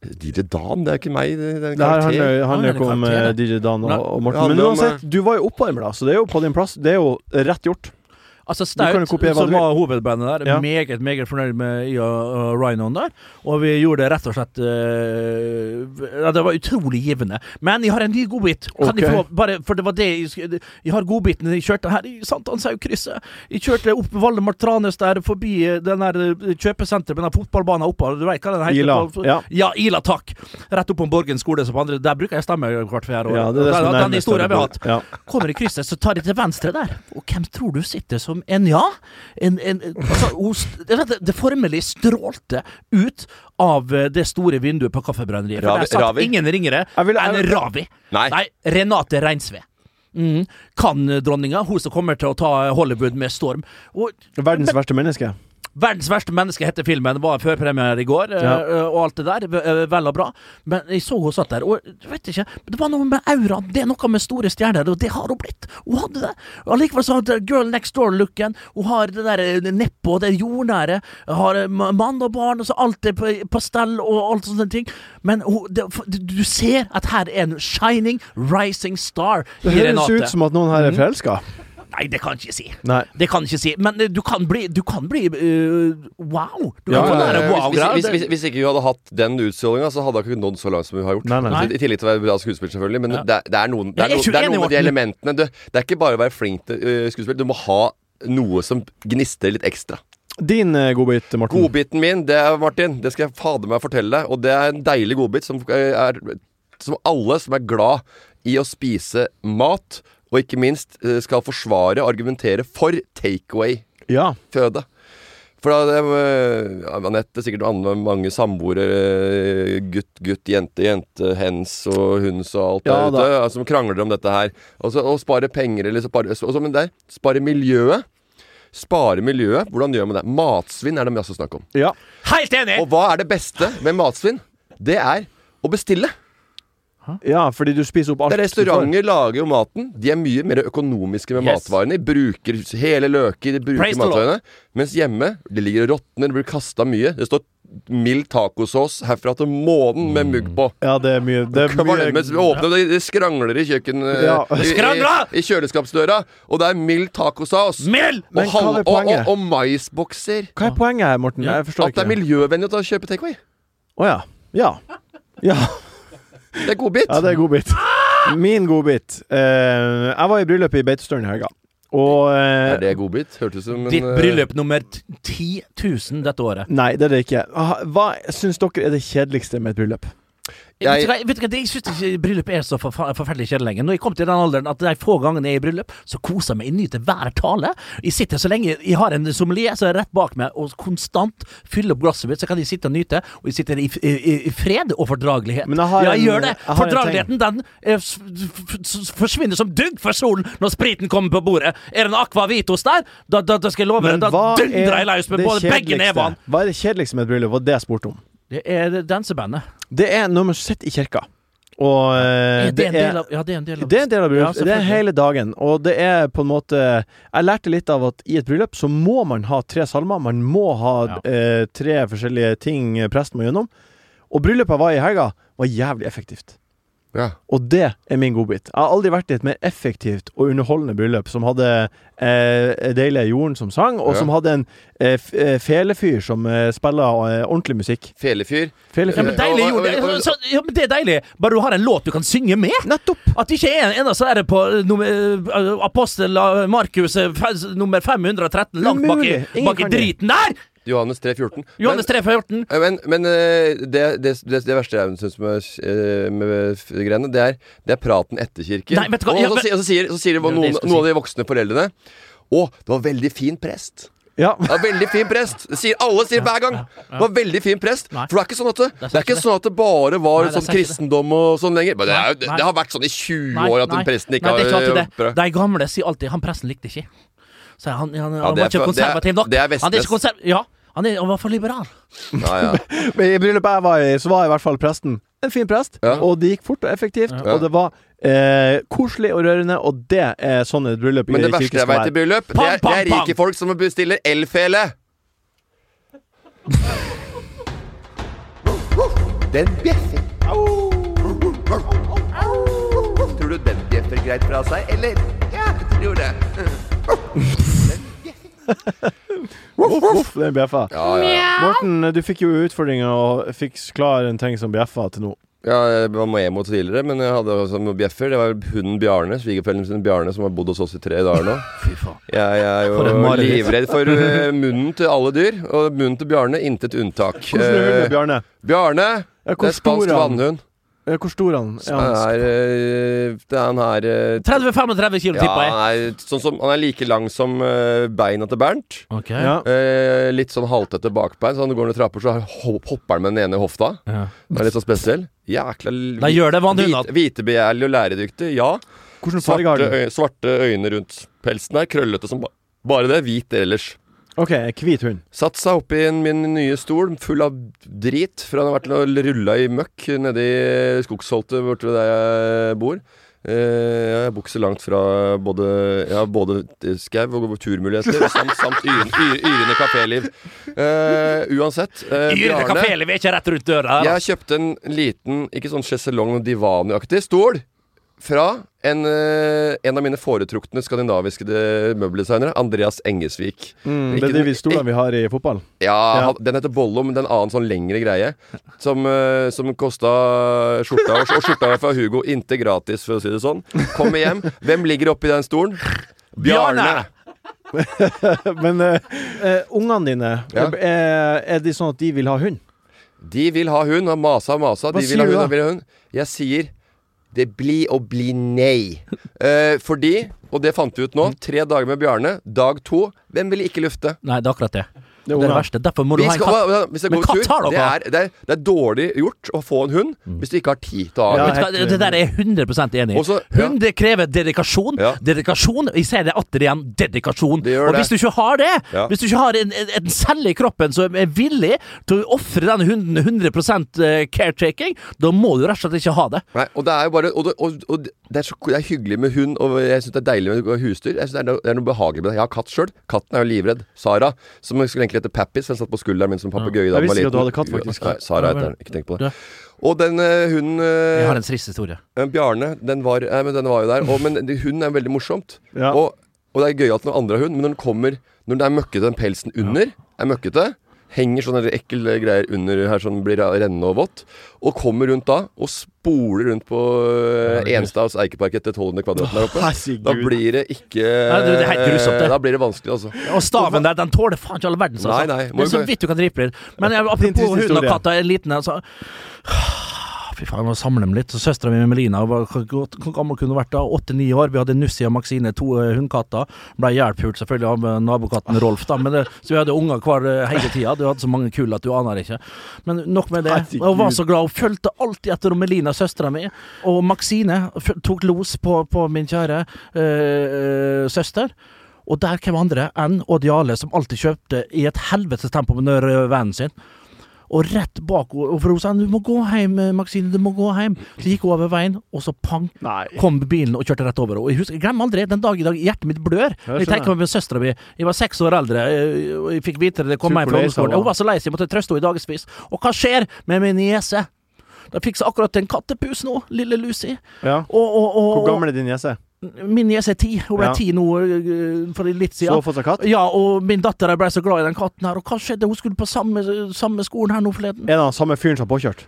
[SPEAKER 3] DJ Dan, det er ikke meg. Det det er
[SPEAKER 2] det her
[SPEAKER 3] en karakter.
[SPEAKER 2] handler, handler
[SPEAKER 4] Han er
[SPEAKER 2] jo ikke om
[SPEAKER 4] karakter,
[SPEAKER 2] eh,
[SPEAKER 4] det.
[SPEAKER 2] DJ Dan og,
[SPEAKER 4] Nei.
[SPEAKER 2] og
[SPEAKER 3] Det
[SPEAKER 2] Morten.
[SPEAKER 3] handler
[SPEAKER 2] Men
[SPEAKER 3] om,
[SPEAKER 2] uansett, du var jo oppvarmer, da, så det er jo på din plass. Det er jo rett gjort.
[SPEAKER 4] Altså
[SPEAKER 2] kan jo
[SPEAKER 4] Staut,
[SPEAKER 2] kopiere hva
[SPEAKER 4] som
[SPEAKER 2] du vil.
[SPEAKER 4] var hovedbandet der,
[SPEAKER 2] Ja.
[SPEAKER 4] meget meget fornøyd med jeg og, og Rhinoen der. Og vi gjorde det rett og slett eh, ja, Det var utrolig givende. Men jeg har en ny godbit. Kan
[SPEAKER 2] Ok.
[SPEAKER 4] jeg få bare, For det var det jeg skulle Jeg har godbiten jeg kjørte her i Sankthanshaugkrysset. Jeg kjørte opp Valdemar Tranes der, forbi eh, den der eh, kjøpesenteret med den fotballbanen oppe. Du vet hva den heter?
[SPEAKER 2] Ila,
[SPEAKER 4] på-
[SPEAKER 2] ja.
[SPEAKER 4] ja, Ila, takk. Rett opp om Borgen skole. Som andre, der bruker jeg stemme hvert fjerde år.
[SPEAKER 2] Ja, det er det som
[SPEAKER 4] den,
[SPEAKER 2] er
[SPEAKER 4] den
[SPEAKER 2] nærmest
[SPEAKER 4] historien vi har hatt.
[SPEAKER 2] Borgen. Ja.
[SPEAKER 4] Kommer i krysset, så tar de til venstre der. Og hvem tror du sitter som en ja? En, en, altså, hos- det, vet du, det formelig strålte ut av eh, det store vinduet på kaffebrenneriet. For
[SPEAKER 3] Ravi-
[SPEAKER 4] der satt
[SPEAKER 3] Ravi?
[SPEAKER 4] ingen ringere
[SPEAKER 2] Jeg vil-
[SPEAKER 4] enn
[SPEAKER 2] jeg-
[SPEAKER 4] Ravi.
[SPEAKER 3] Nei.
[SPEAKER 4] Renate Reinsve. Mm. Kan-dronninga, hun som kommer til å ta Hollywood med storm. Og
[SPEAKER 2] Verdens verste menneske.
[SPEAKER 4] Verdens verste menneske heter filmen. Det var førpremiere i går, eh,
[SPEAKER 2] Ja.
[SPEAKER 4] og alt det der. v- eh, Vel og bra. Men jeg så hun satt der, og jeg vet ikke Det var noe med auraen. Det er noe med store stjerner, og det har hun blitt. Hun hadde det. Og Allikevel så hadde Girl Next Door-looken. Hun har det der neppe og det jordnære. Har eh, ma- mann og barn, og så alt er på, på stell og alt sånne ting. Men hun, det, for- du du ser at her er en shining, rising star
[SPEAKER 2] Det
[SPEAKER 4] i
[SPEAKER 2] høres
[SPEAKER 4] Renate.
[SPEAKER 2] ut som at noen her er forelska.
[SPEAKER 4] Nei, det kan jeg ikke si.
[SPEAKER 2] Mhm. Nei.
[SPEAKER 4] Det kan jeg ikke si, men eh, du kan bli, du kan bli eh, wow. Du
[SPEAKER 2] Ja,
[SPEAKER 4] kan få
[SPEAKER 2] ja,
[SPEAKER 4] lære
[SPEAKER 2] ja,
[SPEAKER 4] wow-greier.
[SPEAKER 3] hvis, hvis, hvis, hvis ikke hun hadde hatt den utstrålinga, så hadde hun ikke nådd så langt som hun har gjort. Altså,
[SPEAKER 2] Nei, nei.
[SPEAKER 4] Nei.
[SPEAKER 3] I tillegg til å være bra skuespiller, selvfølgelig. Men
[SPEAKER 4] Ja.
[SPEAKER 3] det, er- det er noen, det er
[SPEAKER 4] Jeg er
[SPEAKER 3] noen, det er
[SPEAKER 4] 21 i
[SPEAKER 3] noen med de
[SPEAKER 4] Morten.
[SPEAKER 3] elementene. Du, det er ikke bare å være flink til øh, skuespill. Du må ha noe som gnister litt ekstra.
[SPEAKER 2] Din eh, godbit, Morten.
[SPEAKER 3] Godbiten min, det er Martin, det skal jeg fader meg fortelle deg. Og det er en deilig godbit som, øh, er, som alle som er glad i å spise mat, og ikke minst øh, skal forsvare og argumentere for takeaway
[SPEAKER 2] Ja.
[SPEAKER 3] føde. For da det, øh, Anette, sikkert andre, mange samboere, øh, gutt, gutt, jente, jente, hens og hunds og alt
[SPEAKER 2] Ja,
[SPEAKER 3] der ute, altså, som krangler om dette her. Og, så, og spare penger, eller spare, og så, men der, spare miljøet. Spare miljøet, hvordan gjør man det? Matsvinn er det masse snakk om.
[SPEAKER 2] ja.
[SPEAKER 4] Helt enig!
[SPEAKER 3] Og hva er det beste med matsvinn? Det er å bestille.
[SPEAKER 2] Ja, fordi du spiser opp alt.
[SPEAKER 3] Det er restauranter lager jo maten. De er mye mer økonomiske med
[SPEAKER 4] Yes.
[SPEAKER 3] matvarene. De bruker hele løker, de bruker
[SPEAKER 4] Praise the Lord.
[SPEAKER 3] matvarene. Mens hjemme, det ligger og råtner, det blir kasta mye. Det står mild tacosås herfra til månen med mugg på.
[SPEAKER 2] Ja, det er mye Det er
[SPEAKER 3] Kvalmen
[SPEAKER 2] mye
[SPEAKER 3] mens vi åpner, det- det skrangler i kjøkken
[SPEAKER 2] Ja.
[SPEAKER 3] eh, i,
[SPEAKER 4] Skrangla!
[SPEAKER 3] i, i kjøleskapsdøra, og det er mild tacosaus.
[SPEAKER 4] Mel!
[SPEAKER 3] Og,
[SPEAKER 2] Men hva
[SPEAKER 3] hal-
[SPEAKER 2] er
[SPEAKER 3] og, og,
[SPEAKER 2] poenget?
[SPEAKER 3] og maisbokser.
[SPEAKER 2] Hva er poenget her, Morten?
[SPEAKER 4] Ja.
[SPEAKER 2] Jeg forstår
[SPEAKER 3] At det
[SPEAKER 2] ikke.
[SPEAKER 3] er miljøvennlig å ta- kjøpe takeaway.
[SPEAKER 2] Å ja. Ja. ja.
[SPEAKER 3] Det er godbit.
[SPEAKER 2] Ja, det er godbit. Min godbit. Eh, jeg var i bryllup i Beitostølen i helga. Og eh,
[SPEAKER 3] Er det godbit? Hørtes ut som en
[SPEAKER 4] Ditt
[SPEAKER 3] eh,
[SPEAKER 4] bryllup nummer t- 10 000 dette året.
[SPEAKER 2] Nei, det er det ikke. Ah, Hva syns dere er det kjedeligste med et bryllup?
[SPEAKER 3] eh, Jeg-
[SPEAKER 4] Vet du hva, vet du hva, det- jeg syns ikke bryllup er så forfa- forferdelig kjedelig lenger. Når jeg kom til den alderen at de få gangene jeg er i bryllup, så koser jeg meg. Jeg nyter hver tale. Jeg sitter så lenge Jeg har en sommelier som er rett bak meg og konstant fyller opp glasset mitt, så kan jeg sitte og nyte. Og jeg sitter i, f- i, i, i fred og fordragelighet.
[SPEAKER 2] Men jeg har
[SPEAKER 4] ja,
[SPEAKER 2] en-
[SPEAKER 4] jeg gjør det.
[SPEAKER 2] jeg har en
[SPEAKER 4] Fordrageligheten, den eh, s- f- s- forsvinner som dugg for solen når spriten kommer på bordet. Er det en Aqua Vitos der, da, da, da skal jeg love deg, da dundrer jeg løs med både begge nevene.
[SPEAKER 2] Hva er det kjedeligste med et bryllup? Var det jeg spurte om.
[SPEAKER 4] Det er dansebandet.
[SPEAKER 2] Det er når man sitter i kirka, og eh,
[SPEAKER 4] Er det, en del av, ja, det er en del av
[SPEAKER 2] Det er en del av bryllup.
[SPEAKER 4] Ja,
[SPEAKER 2] det er hele dagen. Og det er på en måte Jeg lærte litt av at i et bryllup så må man ha tre salmer. Man må ha
[SPEAKER 4] Ja.
[SPEAKER 2] eh, tre forskjellige ting presten må gjennom. Og bryllupet jeg var i helga, var jævlig effektivt.
[SPEAKER 3] Ja.
[SPEAKER 2] Og det er min godbit. Jeg har aldri vært i et mer effektivt og underholdende bryllup som hadde eh, deilige Jorden som sang, og
[SPEAKER 3] Ja.
[SPEAKER 2] som hadde en eh, f- eh, felefyr som eh, spiller eh, ordentlig musikk.
[SPEAKER 3] Felefyr.
[SPEAKER 4] Ja, men
[SPEAKER 2] Felefyr.
[SPEAKER 4] deilig, jo. Det, så, ja, men det er deilig. Bare du har en låt du kan synge med.
[SPEAKER 2] Nettopp!
[SPEAKER 4] At det ikke er en eneste er det på eh, nummer, eh, Apostel eh, Markus eh, fe- nummer 513 langt bak i,
[SPEAKER 2] Umulig. Ingen
[SPEAKER 4] bak i
[SPEAKER 2] kan det.
[SPEAKER 4] driten der!
[SPEAKER 3] Johannes 314.
[SPEAKER 4] Johannes 314.
[SPEAKER 3] Men, men, men eh, det, det, det, det verste jeg syns med, eh, med f- greiene, det er, det er praten etter kirken.
[SPEAKER 4] Nei, vet du hva,
[SPEAKER 3] og,
[SPEAKER 4] ja,
[SPEAKER 3] så
[SPEAKER 4] men-
[SPEAKER 3] sier- og så sier, så sier
[SPEAKER 4] var
[SPEAKER 3] noen,
[SPEAKER 4] det jeg skulle
[SPEAKER 3] noen av de voksne foreldrene Å, det var veldig fin prest.
[SPEAKER 2] Ja.
[SPEAKER 3] Det var veldig fin prest. Det sier, alle sier hver gang. Det var veldig fin prest.
[SPEAKER 4] Nei.
[SPEAKER 3] For det er ikke sånn at det,
[SPEAKER 4] Det er
[SPEAKER 3] det, er ikke
[SPEAKER 4] ikke det.
[SPEAKER 3] sånn at det bare var
[SPEAKER 4] Nei, det er
[SPEAKER 3] sånn
[SPEAKER 4] ikke det.
[SPEAKER 3] kristendom og sånn lenger. Men det, er, jo- det,
[SPEAKER 4] Nei.
[SPEAKER 3] det har vært sånn i 20 år at
[SPEAKER 4] nei,
[SPEAKER 3] den presten ikke
[SPEAKER 4] nei, det er ikke
[SPEAKER 3] har eh,
[SPEAKER 4] alltid det.
[SPEAKER 3] prøvd.
[SPEAKER 4] De gamle sier alltid 'han presten likte ikke'. Så han, han, han,
[SPEAKER 3] det er
[SPEAKER 4] var ikke
[SPEAKER 3] for- det er-
[SPEAKER 4] konservativ nok.
[SPEAKER 3] det er
[SPEAKER 4] han er ikke
[SPEAKER 3] Vestnes.
[SPEAKER 4] konserv... Ja, han, er, han var for liberal.
[SPEAKER 3] Ja, ja.
[SPEAKER 2] Men I bryllupet jeg var i, så var i hvert fall presten en fin prest,
[SPEAKER 3] Ja.
[SPEAKER 2] og det gikk fort og effektivt, og det var eh, koselig og rørende, og det er sånn et bryllup
[SPEAKER 3] Men
[SPEAKER 2] i
[SPEAKER 3] det verste
[SPEAKER 2] kirke
[SPEAKER 3] jeg
[SPEAKER 2] skal
[SPEAKER 3] veit i
[SPEAKER 2] være.
[SPEAKER 3] bryllup, det er,
[SPEAKER 4] Pam,
[SPEAKER 3] det
[SPEAKER 4] pam,
[SPEAKER 3] er rike
[SPEAKER 4] pam.
[SPEAKER 3] folk som bestiller elfele. Den bjeffer. Tror du den bjeffer greit fra seg, eller? Ja, jeg tror det.
[SPEAKER 2] Voff, voff, den bjeffa.
[SPEAKER 3] Ja, ja,
[SPEAKER 2] Morten, du fikk jo utfordringa og fikk klar en ting som bjeffa til nå.
[SPEAKER 3] ja. Jeg var med emo tidligere, men jeg hadde også noen bjeffer. Det var hunden Bjarne, svigerforeldrene sine Bjarne, som har bodd hos oss i tre dager nå.
[SPEAKER 4] Fy faen.
[SPEAKER 3] Jeg, jeg er
[SPEAKER 4] For et
[SPEAKER 3] jo
[SPEAKER 4] mareritt.
[SPEAKER 3] livredd for eh, munnen til alle dyr, og munnen til Bjarne intet unntak.
[SPEAKER 2] Hvordan er
[SPEAKER 3] Eh,
[SPEAKER 2] hunden, Bjarne?
[SPEAKER 3] Bjarne,
[SPEAKER 2] Ja, hvor
[SPEAKER 3] det er
[SPEAKER 2] stor
[SPEAKER 3] spansk
[SPEAKER 2] er han?
[SPEAKER 3] vannhund.
[SPEAKER 2] Eh, Hvor stor er han? Er
[SPEAKER 3] Han
[SPEAKER 2] han?
[SPEAKER 3] er, eh, det er han her eh,
[SPEAKER 4] 30-35 kilo,
[SPEAKER 3] ja,
[SPEAKER 4] tipper jeg.
[SPEAKER 3] han, er, sånn som, han er like lang som eh, beina til Bernt.
[SPEAKER 4] Ok.
[SPEAKER 2] Ja.
[SPEAKER 3] Eh, litt sånn haltete bakbein, så når du går ned trapper, så ho- hopper han med den ene i hofta.
[SPEAKER 4] Ja.
[SPEAKER 3] Det er litt sånn spesiell. Jækla l-
[SPEAKER 4] Da gjør det vannhunden.
[SPEAKER 3] hvit- Hvitebegjærlig og læredyktig, ja.
[SPEAKER 2] Hvilken farge har
[SPEAKER 3] Svarte,
[SPEAKER 2] den?
[SPEAKER 3] øy, svarte øyne rundt pelsen her, krøllete som ba bare det. Hvit ellers.
[SPEAKER 2] OK, hvit hund.
[SPEAKER 3] Satt seg oppi en- min nye stol, full av drit, for han har vært og rulla i møkk nedi skogsholtet borte der jeg bor. Eh, jeg bukser langt fra både, ja, både skau og turmuligheter, samt, samt yren- yr- yrende kaféliv. Eh, uansett, eh,
[SPEAKER 4] Yrende
[SPEAKER 3] Bjarne,
[SPEAKER 4] kaféliv er ikke rett rundt døra. her, altså.
[SPEAKER 3] jeg kjøpte en liten, ikke sånn sjeselong og divanaktig stol fra en, eh, en av mine foretrukne skandinaviske de- møbeldesignere, Andreas Engesvik.
[SPEAKER 2] Mm, det
[SPEAKER 3] Ikke
[SPEAKER 2] er de
[SPEAKER 3] den-
[SPEAKER 2] vi- stolene vi har i fotball.
[SPEAKER 3] ja,
[SPEAKER 2] Ja.
[SPEAKER 3] han- den heter Bollo, men det er en annen sånn lengre greie. Som, eh, som kosta skjorta, og skjorta var fra Hugo inntil gratis, for å si det sånn. Kommer hjem. Hvem ligger oppi den stolen? Bjarne!
[SPEAKER 4] Bjarne!
[SPEAKER 2] Men eh, eh, ungene dine,
[SPEAKER 3] Ja.
[SPEAKER 2] er, er de sånn at de vil ha hund?
[SPEAKER 3] De vil ha hund, og masa og masa. De
[SPEAKER 2] Hva
[SPEAKER 3] vil
[SPEAKER 2] sier du
[SPEAKER 3] ha hund,
[SPEAKER 2] da?
[SPEAKER 3] og vil ha hund. Jeg sier det blir og blir nei. Eh, fordi, og det fant vi ut nå, tre dager med Bjarne. Dag to, hvem vil ikke lufte?
[SPEAKER 4] Nei, det er akkurat det. Det er det
[SPEAKER 2] ungene.
[SPEAKER 4] verste. Derfor må du
[SPEAKER 3] Vi
[SPEAKER 4] ha en
[SPEAKER 3] skal,
[SPEAKER 4] katt.
[SPEAKER 3] hva- hvis jeg
[SPEAKER 4] Men
[SPEAKER 3] går
[SPEAKER 4] katt har
[SPEAKER 3] tur,
[SPEAKER 4] dere, Mm.
[SPEAKER 3] det er, det, er, det er dårlig gjort å få en hund hvis du ikke har tid til å ha
[SPEAKER 2] Ja,
[SPEAKER 3] en hund.
[SPEAKER 4] Vet du hva,
[SPEAKER 2] helt
[SPEAKER 4] Det der er jeg 100 enig i.
[SPEAKER 3] Også- ja.
[SPEAKER 4] Hund det krever dedikasjon.
[SPEAKER 3] Ja.
[SPEAKER 4] Dedikasjon. Vi sier det atter igjen, dedikasjon.
[SPEAKER 3] Det gjør
[SPEAKER 4] og
[SPEAKER 3] det.
[SPEAKER 4] hvis du ikke har det,
[SPEAKER 3] Ja.
[SPEAKER 4] hvis du ikke har en, en, en celle i kroppen som er villig til å ofre den hunden 100 caretaking, da må du rett og slett ikke ha det.
[SPEAKER 3] Nei, og det er jo bare Og, det- og, og det, er så, det er hyggelig med hund, og jeg syns det er deilig med husdyr. Jeg synes det, er noe, det er noe behagelig med det. Jeg har katt sjøl. Katten er jo livredd. Sara, som skulle egentlig hete Pappis. Den satt på skulderen min som papegøye da
[SPEAKER 2] Jeg
[SPEAKER 3] den var
[SPEAKER 2] visste ikke at
[SPEAKER 3] liten.
[SPEAKER 2] du hadde katt, faktisk.
[SPEAKER 3] Nei, Sara heter den. Ikke tenk på det. Og den eh, hunden
[SPEAKER 4] Jeg
[SPEAKER 3] eh,
[SPEAKER 4] har en trist historie.
[SPEAKER 3] eh, Bjarne, den var, nei, men den var jo der. Og, men det- hunden er veldig morsomt.
[SPEAKER 2] Ja.
[SPEAKER 3] Og, og det er gøyalt når andre har hund, men når den kommer Når den er møkkete, den pelsen under er møkkete Henger sånne ekle greier under her som blir rennende og vått. Og kommer rundt da, og spoler rundt på øh, Enstads Eikepark etter 1200 kvadrat der oppe. Da
[SPEAKER 2] Herregud.
[SPEAKER 3] blir det ikke
[SPEAKER 4] du, det er helt grusomt, det.
[SPEAKER 3] Da blir det vanskelig, altså.
[SPEAKER 4] Og staven der, den tåler faen ikke all verdens. Altså.
[SPEAKER 3] Nei, nei, må
[SPEAKER 4] det er
[SPEAKER 3] jo
[SPEAKER 4] så
[SPEAKER 3] bare-
[SPEAKER 4] vidt du kan dripe den. Men jeg, apropos
[SPEAKER 2] triste
[SPEAKER 4] hunden og
[SPEAKER 2] historie.
[SPEAKER 4] katta, en liten en, så Ah, Fy faen, jeg må samle dem litt. Så Søstera mi Melina var, hvor godt- hvor gammel kunne hun vært da? Åtte-ni år. Vi hadde Nussi og Maxine, to eh, hundkatter. Ble hjelphult selvfølgelig av eh, nabokatten Rolf, da. Men det, så vi hadde unger hver eh, hele tida. Du hadde så mange kull at du aner ikke. Men nok med det.
[SPEAKER 2] Herregud.
[SPEAKER 4] Og Hun var så glad. Hun fulgte alltid etter Melina, søstera mi. Og Maxine f- tok los på, på min kjære eh, søster. Og der hvem andre enn Odd Jarle, som alltid kjøpte i et helvetes tempo med den røde vanen sin. Og rett bak henne, for hun sa 'du må gå hjem, Maxine', du må gå hjem. Så gikk hun over veien, og så pang,
[SPEAKER 2] Nei.
[SPEAKER 4] kom bilen og kjørte rett over henne. Og Jeg, husker, jeg glemmer aldri, den dag i dag, hjertet mitt blør.
[SPEAKER 2] skjønner
[SPEAKER 4] Jeg tenker meg med søstera mi, jeg var seks år eldre, eh, og jeg fikk vite det, det kom
[SPEAKER 2] Tror
[SPEAKER 4] meg
[SPEAKER 2] på
[SPEAKER 4] fra
[SPEAKER 2] det, sa
[SPEAKER 4] ungdomsskolen.
[SPEAKER 2] hun.
[SPEAKER 4] Hun var så lei seg, jeg måtte trøste henne i dagevis. Og hva skjer med min niese? De fikk seg akkurat en kattepus nå, lille Lucy.
[SPEAKER 2] Ja.
[SPEAKER 4] Og, og, og,
[SPEAKER 2] Hvor gammel er din niese?
[SPEAKER 4] Min niese er ti. Hun ble
[SPEAKER 2] Ja.
[SPEAKER 4] ti nå eh, for litt
[SPEAKER 2] Så
[SPEAKER 4] siden.
[SPEAKER 2] fått seg katt?
[SPEAKER 4] Ja, og min datter ble så glad i den katten her, og hva skjedde? Hun skulle på samme, samme skolen her nå forleden.
[SPEAKER 2] En av den samme fyren som har påkjørt?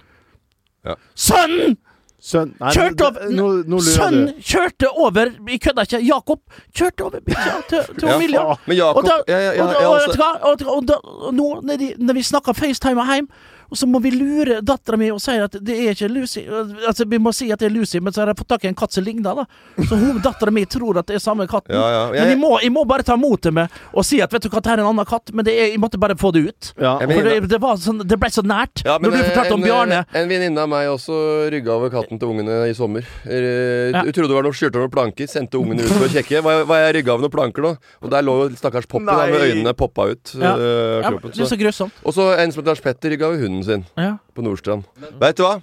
[SPEAKER 4] Sønnen!
[SPEAKER 2] Sønn Nei,
[SPEAKER 4] Kjørt opp!
[SPEAKER 2] Nå, nå lurer
[SPEAKER 4] Sønnen
[SPEAKER 2] du.
[SPEAKER 4] kjørte over, jeg kødder ikke, Jakob kjørte over bikkja til, til
[SPEAKER 3] Ja.
[SPEAKER 4] Emilia.
[SPEAKER 3] Men Jakob
[SPEAKER 4] Og da,
[SPEAKER 3] ja, ja, altså- ja,
[SPEAKER 4] og,
[SPEAKER 3] jeg
[SPEAKER 4] da- og,
[SPEAKER 3] også-
[SPEAKER 4] vet du hva? og, og, da, og nå når, de, når vi snakker FaceTime hjem, og så må vi lure dattera mi og si at det er ikke Lucy. Altså, vi må si at det er Lucy, men så har jeg fått tak i en katt som ligner, da. Så hun dattera mi tror at det er samme katten.
[SPEAKER 3] Ja, ja, jeg-
[SPEAKER 4] men jeg må, jeg må bare ta imot det med og si at vet du hva, det her er en annen katt, men det er, jeg måtte bare få det ut.
[SPEAKER 2] Ja.
[SPEAKER 3] Jeg
[SPEAKER 4] For
[SPEAKER 3] mener-
[SPEAKER 4] det, det, var sånn, det ble så nært.
[SPEAKER 3] Ja, men eh,
[SPEAKER 4] når du fortalte om
[SPEAKER 3] en-
[SPEAKER 4] Bjarne
[SPEAKER 3] En venninne av meg også rygga over katten til ungene i sommer. Eh,
[SPEAKER 4] Ja.
[SPEAKER 3] Du trodde det var noe skjørte over noen planker, sendte ungene ut for å sjekke. Var, var jeg rygga over noen planker nå? Og der lå jo stakkars Poppy da, med
[SPEAKER 2] Nei.
[SPEAKER 3] øynene poppa ut.
[SPEAKER 4] Ja.
[SPEAKER 3] eh, av
[SPEAKER 4] ja,
[SPEAKER 3] kroppen,
[SPEAKER 4] Det er
[SPEAKER 3] så.
[SPEAKER 4] så grusomt.
[SPEAKER 3] Og så en som heter Lars Petter rygga over hunden sin
[SPEAKER 4] Ja.
[SPEAKER 3] på Nordstrand. Vet du hva?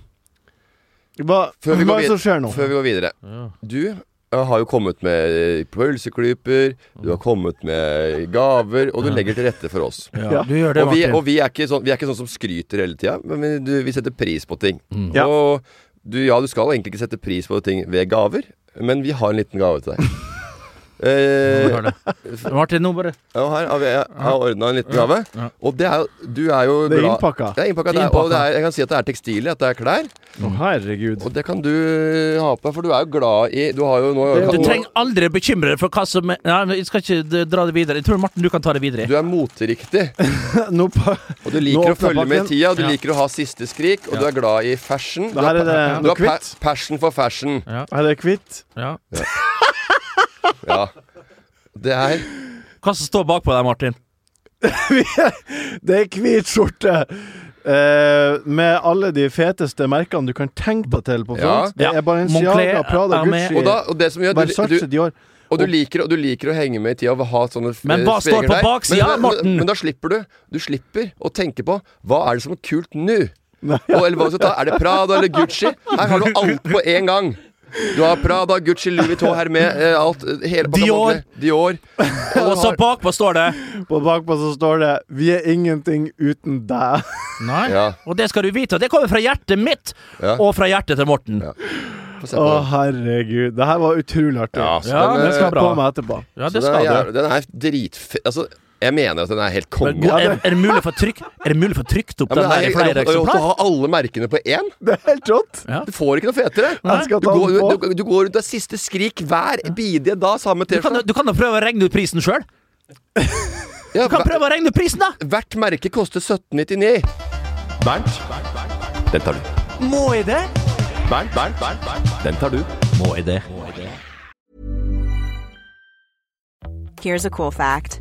[SPEAKER 2] Hva,
[SPEAKER 3] Før vi
[SPEAKER 2] hva
[SPEAKER 3] går
[SPEAKER 2] er det
[SPEAKER 3] vid-
[SPEAKER 2] som skjer nå?
[SPEAKER 3] Før vi går videre. Du eh, har jo kommet med eh, pølseklyper, du har kommet med gaver, og du legger til rette for oss.
[SPEAKER 4] Ja, Du gjør det,
[SPEAKER 3] Og, vi,
[SPEAKER 4] Martin.
[SPEAKER 3] og vi, er ikke sånn, vi er ikke sånn som skryter hele tida, men vi, du, vi setter pris på ting.
[SPEAKER 2] Ja.
[SPEAKER 3] Og du, ja, du skal egentlig ikke sette pris på ting ved gaver, men vi har en liten gave til deg.
[SPEAKER 4] Du
[SPEAKER 3] Eh,
[SPEAKER 4] gjør det. Martin, nå bare
[SPEAKER 3] og her har vi, jeg har ordna en liten gave. Og det er, jo- du er jo
[SPEAKER 2] Det er
[SPEAKER 3] glad-
[SPEAKER 2] innpakka.
[SPEAKER 3] Det er innpakka.
[SPEAKER 4] Det er
[SPEAKER 3] Det er, og det
[SPEAKER 4] innpakka.
[SPEAKER 3] er, jeg kan si at det er tekstiler, at det er klær.
[SPEAKER 2] Å, herregud.
[SPEAKER 3] Og det kan du eh, ha på deg, for du er jo glad i Du har jo nå
[SPEAKER 2] Det-
[SPEAKER 4] Du
[SPEAKER 3] nå-
[SPEAKER 4] trenger aldri bekymre deg for hva som er Nei, men jeg skal ikke d- dra det videre. Jeg tror Martin, du kan ta det videre.
[SPEAKER 3] du er moteriktig,
[SPEAKER 2] Nå pa-
[SPEAKER 3] og du
[SPEAKER 2] Nå
[SPEAKER 3] liker å
[SPEAKER 2] åpner
[SPEAKER 3] følge med i
[SPEAKER 2] pakken.
[SPEAKER 3] tida, og du
[SPEAKER 4] Ja.
[SPEAKER 3] liker å ha siste skrik, og du er glad i fashion. Du
[SPEAKER 2] Da her
[SPEAKER 3] har,
[SPEAKER 2] er det
[SPEAKER 3] du
[SPEAKER 2] noe
[SPEAKER 3] har pa
[SPEAKER 2] kvitt.
[SPEAKER 3] passion for fashion.
[SPEAKER 2] Er det kvitt?
[SPEAKER 4] Ja.
[SPEAKER 3] Ja. Det er
[SPEAKER 4] Hva som står bakpå deg, Martin?
[SPEAKER 2] Det er hvit skjorte! Eh, med alle de feteste merkene du kan tenke deg til på
[SPEAKER 3] Ja.
[SPEAKER 2] front. Det
[SPEAKER 4] Ja.
[SPEAKER 2] er Balenciaga,
[SPEAKER 4] Moncler,
[SPEAKER 2] Prada,
[SPEAKER 4] Hermé.
[SPEAKER 2] Gucci,
[SPEAKER 3] Og, da, og det som gjør du,
[SPEAKER 2] Versace,
[SPEAKER 3] du,
[SPEAKER 2] Dior.
[SPEAKER 3] og du, liker, og du liker å henge med i tida og ha sånne f-
[SPEAKER 4] Men hva står
[SPEAKER 3] spegler
[SPEAKER 4] på
[SPEAKER 3] der.
[SPEAKER 4] baksida,
[SPEAKER 3] Men- men-
[SPEAKER 4] Morten?
[SPEAKER 3] Men, men da slipper du Du slipper å tenke på hva er det som er kult nå. Og, eller hva du skal ta, Er det Prada eller Gucci? Her har du alt på én gang. Du har Prada, Gucci, Louis Vuitton, Hermé, eh, alt eh, hele pakka
[SPEAKER 4] Dior.
[SPEAKER 3] Moncler, Dior.
[SPEAKER 4] Og så bakpå står det
[SPEAKER 2] På bakpå så står det 'Vi er ingenting uten deg'.
[SPEAKER 4] Nei.
[SPEAKER 3] Ja,
[SPEAKER 4] Og det skal du vite. Og det kommer fra hjertet mitt,
[SPEAKER 3] Ja.
[SPEAKER 4] og fra hjertet til Morten.
[SPEAKER 3] Ja. få se
[SPEAKER 2] Å,
[SPEAKER 3] på den.
[SPEAKER 2] herregud. Det her var utrolig artig.
[SPEAKER 3] Ja, så
[SPEAKER 4] Ja,
[SPEAKER 3] den,
[SPEAKER 2] det
[SPEAKER 3] eh,
[SPEAKER 2] skal jeg
[SPEAKER 4] bra.
[SPEAKER 2] på meg etterpå.
[SPEAKER 4] Ja,
[SPEAKER 3] så den,
[SPEAKER 4] det skal
[SPEAKER 3] er, jævlig-
[SPEAKER 4] du.
[SPEAKER 3] den er dritfet Altså, jeg mener at den er helt
[SPEAKER 4] Men
[SPEAKER 3] konge.
[SPEAKER 4] god- Er, er det mulig å få trykt Er det mulig å få trykt opp
[SPEAKER 3] Ja, men det
[SPEAKER 4] den her
[SPEAKER 3] er-
[SPEAKER 4] i
[SPEAKER 3] det
[SPEAKER 4] flere
[SPEAKER 3] er rått å
[SPEAKER 4] eksemplar?
[SPEAKER 3] ha alle merkene på én.
[SPEAKER 2] Det er helt rått!
[SPEAKER 4] Ja.
[SPEAKER 3] Du får ikke noe fetere.
[SPEAKER 2] Jeg skal
[SPEAKER 3] Du
[SPEAKER 2] ta
[SPEAKER 3] går,
[SPEAKER 2] den på.
[SPEAKER 3] du, du går rundt av siste skrik hver bidige da, samme
[SPEAKER 4] Du kan,
[SPEAKER 3] T-skjorte.
[SPEAKER 4] du kan da prøve å regne ut prisen sjøl?
[SPEAKER 3] Ja,
[SPEAKER 4] Du kan prøve å regne ut prisen, da!
[SPEAKER 3] hver- Hvert merke koster 1799. Bernt, den tar du.
[SPEAKER 4] Må jeg det?
[SPEAKER 3] Bernt, Bernt, Bernt, den tar du.
[SPEAKER 4] Må jeg det?
[SPEAKER 5] Here's a cool fact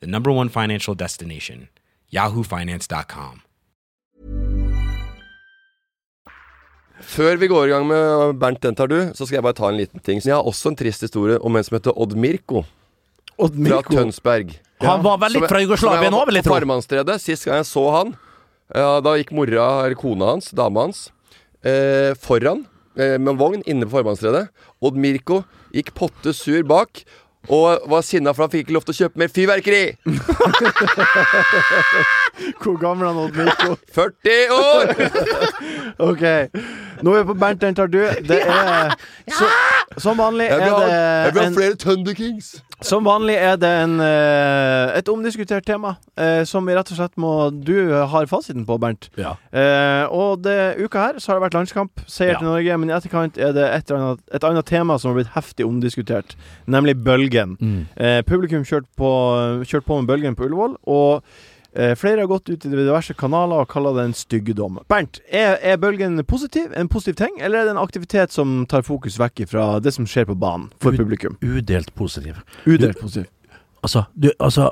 [SPEAKER 6] the number one financial destination, yahoofinance.com.
[SPEAKER 3] Før vi går i gang med Bernt, den tar du, så skal jeg bare ta en liten ting. Jeg har også en trist historie om en som heter Odd Mirko
[SPEAKER 2] Odd
[SPEAKER 3] fra
[SPEAKER 2] Mirko.
[SPEAKER 3] Tønsberg.
[SPEAKER 4] Han var vel litt fra Jugoslavia nå, vil jeg tro.
[SPEAKER 3] Farmannstredet. Sist gang jeg så han, eh, da gikk mora, eller kona hans, dama hans, eh, foran eh, med en vogn inne på Farmannstredet. Odd Mirko gikk potte sur bak. Og var sinna for han fikk ikke lov til å kjøpe mer fyrverkeri!
[SPEAKER 2] Hvor gammel er han Odd Mirko?
[SPEAKER 3] 40 år!
[SPEAKER 2] Ok. Nå er vi på Bernt, den tar du. Det er så, Som vanlig
[SPEAKER 3] Jeg
[SPEAKER 2] er
[SPEAKER 3] vil ha, jeg
[SPEAKER 2] det
[SPEAKER 3] vil ha
[SPEAKER 2] en,
[SPEAKER 3] flere Thunder Kings!
[SPEAKER 2] Som vanlig er det en, eh, et omdiskutert tema eh, som vi rett og slett må Du har fasiten på, Bernt.
[SPEAKER 4] Ja.
[SPEAKER 2] Eh, og det uka her så har det vært landskamp, seier
[SPEAKER 4] Ja.
[SPEAKER 2] til Norge, men i etterkant er det et, eller annet, et annet tema som har blitt heftig omdiskutert, nemlig bølgen.
[SPEAKER 4] Mm.
[SPEAKER 2] Eh, publikum kjørte på, kjørt på med bølgen på Ullevål, og eh, flere har gått ut i de diverse kanaler og kaller det en styggedom. Bernt, er, er bølgen positiv, en positiv ting, eller er det en aktivitet som tar fokus vekk fra det som skjer på banen for
[SPEAKER 4] Ut-
[SPEAKER 2] publikum?
[SPEAKER 4] Udelt positiv.
[SPEAKER 2] Udelt positiv.
[SPEAKER 4] Altså, du, altså,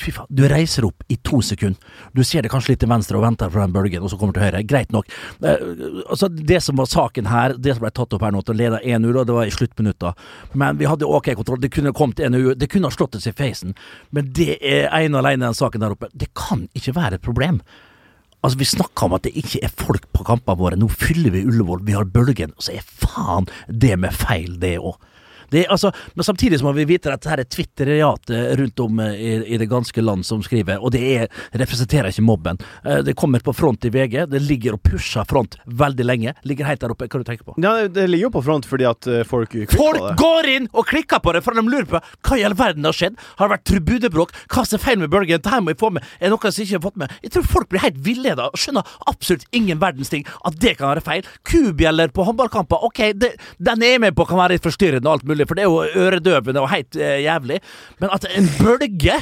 [SPEAKER 4] fy faen, du reiser opp i to sekunder. Du ser det kanskje litt til venstre og venter på den bølgen, og så kommer til høyre. Greit nok. Eh, altså, det som var saken her, det som ble tatt opp her nå, at de leda 1-0, og det var i sluttminutta. Men vi hadde ok kontroll. Det kunne kommet 1-0, det kunne ha slått oss i feisen. Men det er ene og alene den saken der oppe. Det kan ikke være et problem. Altså, Vi snakker om at det ikke er folk på kampene våre. Nå fyller vi Ullevål, vi har bølgen. Og så er faen det med feil, det òg. Det er, altså, men samtidig så må vi vite at dette her er twitteriatet rundt om eh, i, i det ganske land som skriver, og det er, representerer ikke mobben. Eh, Det kommer på front i VG, det ligger og pusher front veldig lenge. Ligger helt der oppe, hva du tenker på?
[SPEAKER 2] Ja, det ligger jo på front fordi at eh, folk klikker
[SPEAKER 4] Folk
[SPEAKER 2] på det.
[SPEAKER 4] går inn og klikker på det, for de lurer på hva i all verden har skjedd. Har det vært tribunebråk? Hva er feil med bølgen? Dette må jeg få med. Er det noe som jeg ikke har fått med? Jeg tror folk blir helt villeda og skjønner absolutt ingen verdens ting at det kan være feil. Kubjeller på håndballkamper, ok, det, den er jeg med på kan være litt forstyrrende og alt mulig, for det er jo øredøvende og helt eh, jævlig, men at en bølge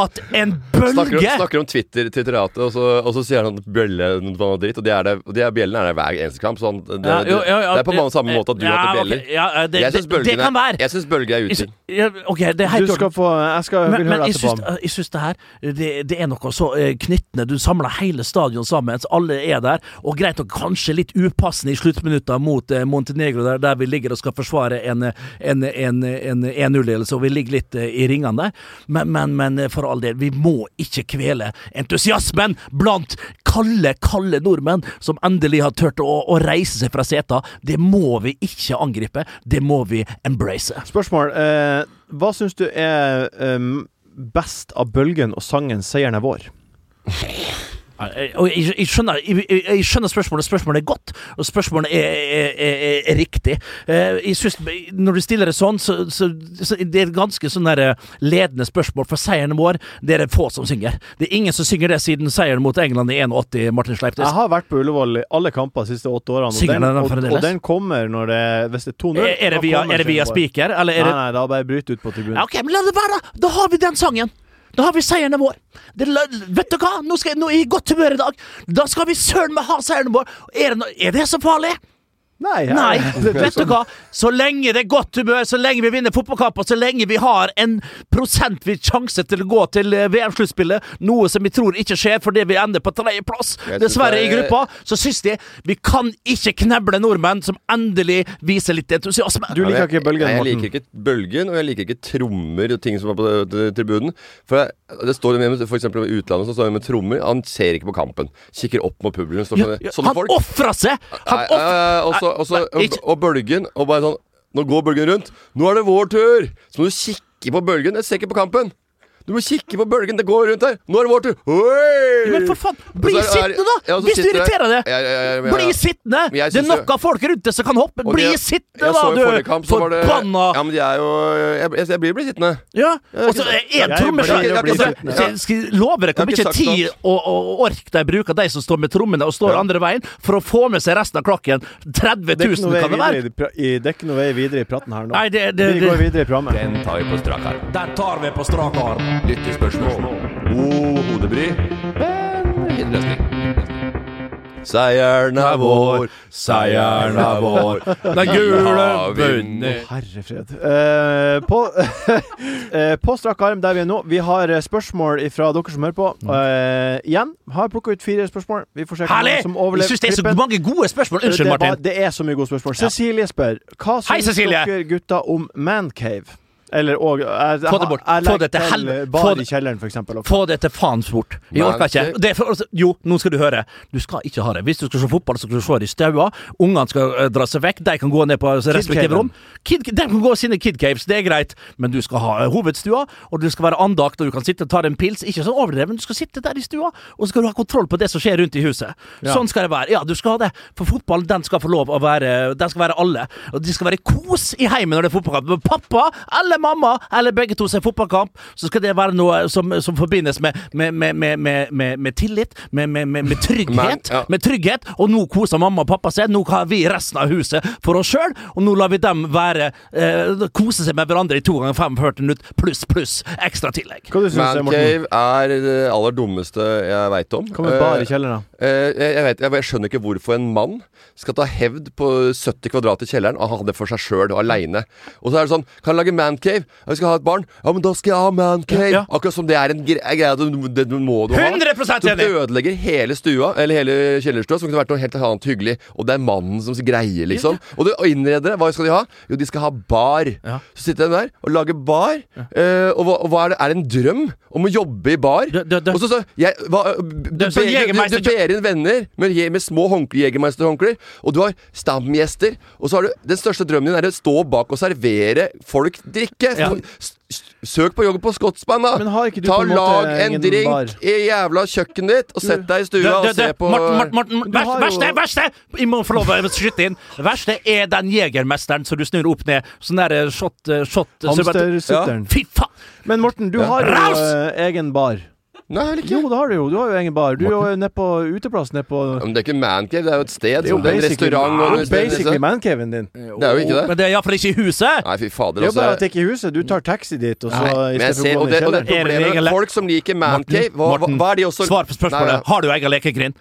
[SPEAKER 4] At en
[SPEAKER 3] Snakker om,
[SPEAKER 4] bølge
[SPEAKER 3] snakker om Twitter, Twitteratet, og så, og så sier han at bjellen var noe dritt. Og det er det, og det er bjellen er det hver eneste kamp. Så han, det,
[SPEAKER 4] Ja, jo, ja, ja,
[SPEAKER 3] det er på mange samme måte at du
[SPEAKER 4] ja,
[SPEAKER 3] hater
[SPEAKER 4] ok,
[SPEAKER 3] bjeller.
[SPEAKER 4] ja, eh, det,
[SPEAKER 3] Jeg
[SPEAKER 4] det,
[SPEAKER 3] syns
[SPEAKER 4] det,
[SPEAKER 3] bølgen,
[SPEAKER 4] kan
[SPEAKER 3] er-
[SPEAKER 4] være.
[SPEAKER 3] jeg synes bølgen er
[SPEAKER 4] Jeg
[SPEAKER 3] ute.
[SPEAKER 4] sy- ja, ok, det er helt
[SPEAKER 2] Du skal få eh, Jeg skal,
[SPEAKER 4] Men,
[SPEAKER 2] vil
[SPEAKER 4] men
[SPEAKER 2] høre
[SPEAKER 4] jeg,
[SPEAKER 2] etterpå.
[SPEAKER 4] syns, eh, jeg syns det her det, det er noe så eh, knyttende. Du samler hele stadion sammen, så alle er der. Og greit nok kanskje litt upassende i sluttminutta mot eh, Montenegro, der, der vi ligger og skal forsvare en, eh, en, en, en 1-0-ledelse, og vi ligger litt eh, i ringene der. Men, men, men eh, for all del, vi må ikke kvele entusiasmen blant kalde, kalde nordmenn som endelig har turt å, å reise seg fra seta. Det må vi ikke angripe, det må vi embrace.
[SPEAKER 2] Spørsmål. Eh, hva syns du er em, best av Bølgen og sangen 'Seieren er vår'?
[SPEAKER 4] Ja, jeg- Eh, Og jeg, jeg, skjønner, jeg, jeg- jeg skjønner spørsmålet. Spørsmålet er godt, og spørsmålet er, er, er, er- er riktig. Eh, Jeg synes, når du stiller det sånn, så, så, så det er et ganske sånn der eh, ledende spørsmål. For seieren vår, det er det få som synger. Det er ingen som synger det siden seieren mot England i 81, Martin Sleipnes.
[SPEAKER 2] Jeg har vært på Ullevål i alle kamper de siste åtte årene, og
[SPEAKER 4] Synger
[SPEAKER 2] den,
[SPEAKER 4] den
[SPEAKER 2] og,
[SPEAKER 4] fremdeles?
[SPEAKER 2] og den kommer når det Hvis det er 2-0.
[SPEAKER 4] Er er det
[SPEAKER 2] da
[SPEAKER 4] via,
[SPEAKER 2] kommer
[SPEAKER 4] er det via
[SPEAKER 2] Seieren vår.
[SPEAKER 4] spiker, eller er
[SPEAKER 2] Nei,
[SPEAKER 4] det
[SPEAKER 2] nei, da bare bryt ut på tribunen.
[SPEAKER 4] Ja, ok, men la det være, da! Da har vi den sangen! Da har vi seieren vår. Det, la- vet du hva? Nå, skal, jeg- nå er jeg i godt humør i dag. Da skal vi søren meg ha seieren vår! Er det, no- er det så farlig?
[SPEAKER 2] Nei, jeg-
[SPEAKER 4] Nei,
[SPEAKER 2] det-
[SPEAKER 4] vet du hva? Så lenge det er godt humør, så lenge vi vinner fotballkamper, så lenge vi har en prosentvis sjanse til å gå til eh, VM-sluttspillet, noe som vi tror ikke skjer fordi vi ender på tredjeplass,
[SPEAKER 3] Jeg synes
[SPEAKER 4] dessverre,
[SPEAKER 3] det
[SPEAKER 4] i
[SPEAKER 3] er-
[SPEAKER 4] gruppa, så syns de vi kan ikke kneble nordmenn som endelig viser litt entusiasme.
[SPEAKER 2] Du liker
[SPEAKER 3] Jeg-
[SPEAKER 2] ikke Bølgen,
[SPEAKER 3] Nei, jeg
[SPEAKER 2] Morten.
[SPEAKER 3] liker ikke bølgen, og jeg liker ikke trommer og ting som er på eh, tribunen. For jeg- det står med, for eksempel i utlandet så står det med trommer. Han ser ikke på kampen. Kikker opp mot publikum. Står sånn, sånne
[SPEAKER 4] han
[SPEAKER 3] folk.
[SPEAKER 4] ofra seg! Han
[SPEAKER 3] Nei,
[SPEAKER 4] off-
[SPEAKER 3] eh, og så- og så-
[SPEAKER 4] Nei,
[SPEAKER 3] og-
[SPEAKER 4] ikke-
[SPEAKER 3] Og bølgen, og bare sånn Nå går bølgen rundt. Nå er det vår tur! Så må du kikke på bølgen. Jeg ser ikke på kampen. Du må kikke på bølgen. Det går rundt der. Nå er det vår tur. Oi!
[SPEAKER 4] Men for faen, bli
[SPEAKER 3] Og så er- er-
[SPEAKER 4] sittende, da!
[SPEAKER 3] ja, så
[SPEAKER 4] Hvis du
[SPEAKER 3] sitter jeg-
[SPEAKER 4] irriterer deg!
[SPEAKER 3] Ja, ja, ja, ja, ja.
[SPEAKER 4] Bli sittende!
[SPEAKER 3] Men jeg
[SPEAKER 4] Det er
[SPEAKER 3] synes
[SPEAKER 4] nok
[SPEAKER 3] jo-
[SPEAKER 4] av folk rundt deg som kan hoppe.
[SPEAKER 3] Og
[SPEAKER 4] Bli
[SPEAKER 3] det-
[SPEAKER 4] sittende,
[SPEAKER 3] jeg
[SPEAKER 4] da,
[SPEAKER 3] så i forrige
[SPEAKER 4] du
[SPEAKER 3] kamp, så var det-
[SPEAKER 4] forbanna
[SPEAKER 3] Ja, men de er jo Jeg, jeg, jeg blir blir sittende.
[SPEAKER 4] Ja, og så
[SPEAKER 2] Jeg
[SPEAKER 4] er en
[SPEAKER 2] blir-
[SPEAKER 4] trommeslager
[SPEAKER 3] jeg blir
[SPEAKER 4] Altså,
[SPEAKER 3] sliten.
[SPEAKER 4] jeg Skal jeg love dere hvor
[SPEAKER 3] Jeg har
[SPEAKER 4] mye
[SPEAKER 3] ikke sagt
[SPEAKER 4] tid og, og ork de bruker, de som står med trommene og står
[SPEAKER 3] Ja.
[SPEAKER 4] andre veien, for å få med seg resten av klokken? 30
[SPEAKER 2] Det er ikke
[SPEAKER 4] 000
[SPEAKER 2] noe vei
[SPEAKER 4] kan det
[SPEAKER 2] videre
[SPEAKER 4] være?
[SPEAKER 2] i, pra- i, det er ikke noe vei videre i praten her nå.
[SPEAKER 4] Nei, det, det,
[SPEAKER 2] vi går
[SPEAKER 4] det,
[SPEAKER 2] videre i programmet.
[SPEAKER 3] Den tar vi på strak arm.
[SPEAKER 4] den tar vi på strak arm.
[SPEAKER 3] Lyttespørsmål. God hodebry. Men fin løsning. Seieren er vår, seieren er vår.
[SPEAKER 7] Den gule
[SPEAKER 3] Ja, vi-
[SPEAKER 7] bønnen.
[SPEAKER 2] Herre fred. Eh, på, eh, på strak arm der vi er nå, vi har eh, spørsmål fra dere som hører på.
[SPEAKER 4] Mm.
[SPEAKER 2] Eh, igjen, har plukka ut fire spørsmål. Vi får se
[SPEAKER 4] Herlig!
[SPEAKER 2] som
[SPEAKER 4] Jeg
[SPEAKER 2] overlever
[SPEAKER 4] syns det er så
[SPEAKER 2] klippen.
[SPEAKER 4] mange gode spørsmål.
[SPEAKER 2] det,
[SPEAKER 4] Unnskyld,
[SPEAKER 2] er bare-
[SPEAKER 4] Martin.
[SPEAKER 2] det er så mye gode spørsmål. Cecilie spør Hva
[SPEAKER 4] Hei,
[SPEAKER 2] syns
[SPEAKER 4] Cecilie!
[SPEAKER 2] dere gutta om mancave? Eller og jeg, jeg,
[SPEAKER 4] Få det bort.
[SPEAKER 2] jeg
[SPEAKER 4] Få
[SPEAKER 2] legger
[SPEAKER 4] det til
[SPEAKER 2] til
[SPEAKER 4] helvete. Få
[SPEAKER 2] bar i
[SPEAKER 4] det-
[SPEAKER 2] kjelleren, for eksempel. og-
[SPEAKER 4] Få det til faens bort. Jeg orker ikke. Det er for, altså, jo, nå skal du høre. Du skal ikke ha det. Hvis du skal se fotball, så skal du se det i staua. Ungene skal eh, dra seg vekk. De kan gå ned på eh, respektive
[SPEAKER 2] Kidcaven.
[SPEAKER 4] rom. Kid, de kan gå sine kid caves, det er greit. Men du skal ha eh, hovedstua, og du skal være andakt, og du kan sitte og ta deg en pils. Ikke sånn overdreven, du skal sitte der i stua, og så skal du ha kontroll på det som skjer rundt i huset. Sånn skal det være. Ja, du skal ha det. For fotballen, den skal få lov å være Den skal være alle. Og det skal være kos i heimen når det er fotballkamp. Men pappa eller mamma eller begge to ser fotballkamp, så skal det være noe som, som forbindes med, med, med, med, med, med, med tillit, med, med, med, med trygghet.
[SPEAKER 3] Men, ja.
[SPEAKER 4] Med trygghet. Og nå koser mamma og pappa seg. Nå har vi resten av huset for oss sjøl, og nå lar vi dem være eh, kose seg med hverandre i to ganger 45 minutter, pluss, pluss ekstra tillegg.
[SPEAKER 2] Hva du syns du, Morten?
[SPEAKER 3] Mancave er det aller dummeste jeg veit om.
[SPEAKER 2] Hva med bar i
[SPEAKER 3] Eh,
[SPEAKER 2] kjelleren? da?
[SPEAKER 3] eh, jeg, jeg, vet, jeg, jeg skjønner ikke hvorfor en mann skal ta hevd på 70 kvadrat i kjelleren og ha det for seg sjøl og aleine. Og så er det sånn Kan jeg lage mancave? Ja, Vi skal ha et barn. Ja, men da skal jeg ha mancave.
[SPEAKER 4] Ja.
[SPEAKER 3] Akkurat som det er en gre- en greie du, det du må du ha.
[SPEAKER 4] 100%
[SPEAKER 3] Som
[SPEAKER 4] enig.
[SPEAKER 3] ødelegger hele stua, eller hele kjellerstua, som kunne vært noe helt annet hyggelig. Og det er mannen som greier, liksom. Og, det, og innredere, hva skal de ha? Jo, de skal ha bar. Så sitter de der og lager bar. Eh, og, hva, og hva er det? Er det en drøm om å jobbe i bar?
[SPEAKER 4] Det- det- det-
[SPEAKER 3] Og så, så jeg, hva, du,
[SPEAKER 4] Det er
[SPEAKER 3] ber-
[SPEAKER 4] sånn
[SPEAKER 3] du, du,
[SPEAKER 4] Jägermeister-
[SPEAKER 3] du ber inn venner med, je- med små håndkle- Jägermeister-håndklær, og du har stamgjester. Og så har du Den største drømmen din er å stå bak og servere folk drikke.
[SPEAKER 4] Ja.
[SPEAKER 3] S- s- Søk på yoga på Skotsmann, da!
[SPEAKER 2] Men har ikke du
[SPEAKER 3] Ta
[SPEAKER 2] på
[SPEAKER 3] og
[SPEAKER 2] en måte
[SPEAKER 3] lag en
[SPEAKER 2] ingen
[SPEAKER 3] drink
[SPEAKER 2] bar?
[SPEAKER 3] i jævla kjøkkenet ditt, og sett deg i stua
[SPEAKER 4] Det-
[SPEAKER 3] og
[SPEAKER 4] det-
[SPEAKER 3] se
[SPEAKER 4] det-
[SPEAKER 3] på
[SPEAKER 4] Morten, Morten, Morten,
[SPEAKER 2] Du
[SPEAKER 4] vers-
[SPEAKER 2] har jo-
[SPEAKER 4] verste, verste! Jeg må få lov å skyte inn. Verste er den jegermesteren som du snur opp ned. Sånn der eh, shot, eh, shot så bare-
[SPEAKER 2] Hamstersutteren.
[SPEAKER 4] Fy faen!
[SPEAKER 2] Men Morten, du
[SPEAKER 3] Ja.
[SPEAKER 2] har jo
[SPEAKER 4] Raus!
[SPEAKER 2] eh, egen bar.
[SPEAKER 3] Nei, eller ikke.
[SPEAKER 2] Jo, det har du jo. Du har jo egen bar. Du er jo nede på uteplass nede på
[SPEAKER 3] Men det er ikke mancave, det er jo et sted. Det er, en
[SPEAKER 2] basically-
[SPEAKER 3] restaurant. liksom.
[SPEAKER 2] Det er
[SPEAKER 3] og-
[SPEAKER 2] jo basically mancaven din.
[SPEAKER 3] det er jo ikke det.
[SPEAKER 4] Men det er iallfall ikke i huset.
[SPEAKER 3] Nei, fy fader.
[SPEAKER 2] Det er
[SPEAKER 3] altså.
[SPEAKER 2] bare at det ikke er i huset. Du tar taxi dit, og så
[SPEAKER 3] Nei, men jeg ser,
[SPEAKER 2] istedenfor å
[SPEAKER 3] og
[SPEAKER 2] gå
[SPEAKER 3] det,
[SPEAKER 2] ned i
[SPEAKER 3] og det er
[SPEAKER 2] kjelleren.
[SPEAKER 3] problemet
[SPEAKER 4] Regel-
[SPEAKER 3] Folk som liker mancave, hva, hva,
[SPEAKER 4] Morten,
[SPEAKER 3] hva er de også
[SPEAKER 4] Svar på
[SPEAKER 3] Nei,
[SPEAKER 4] spørsmålet.
[SPEAKER 3] ja.
[SPEAKER 4] Har du egen lekegrind?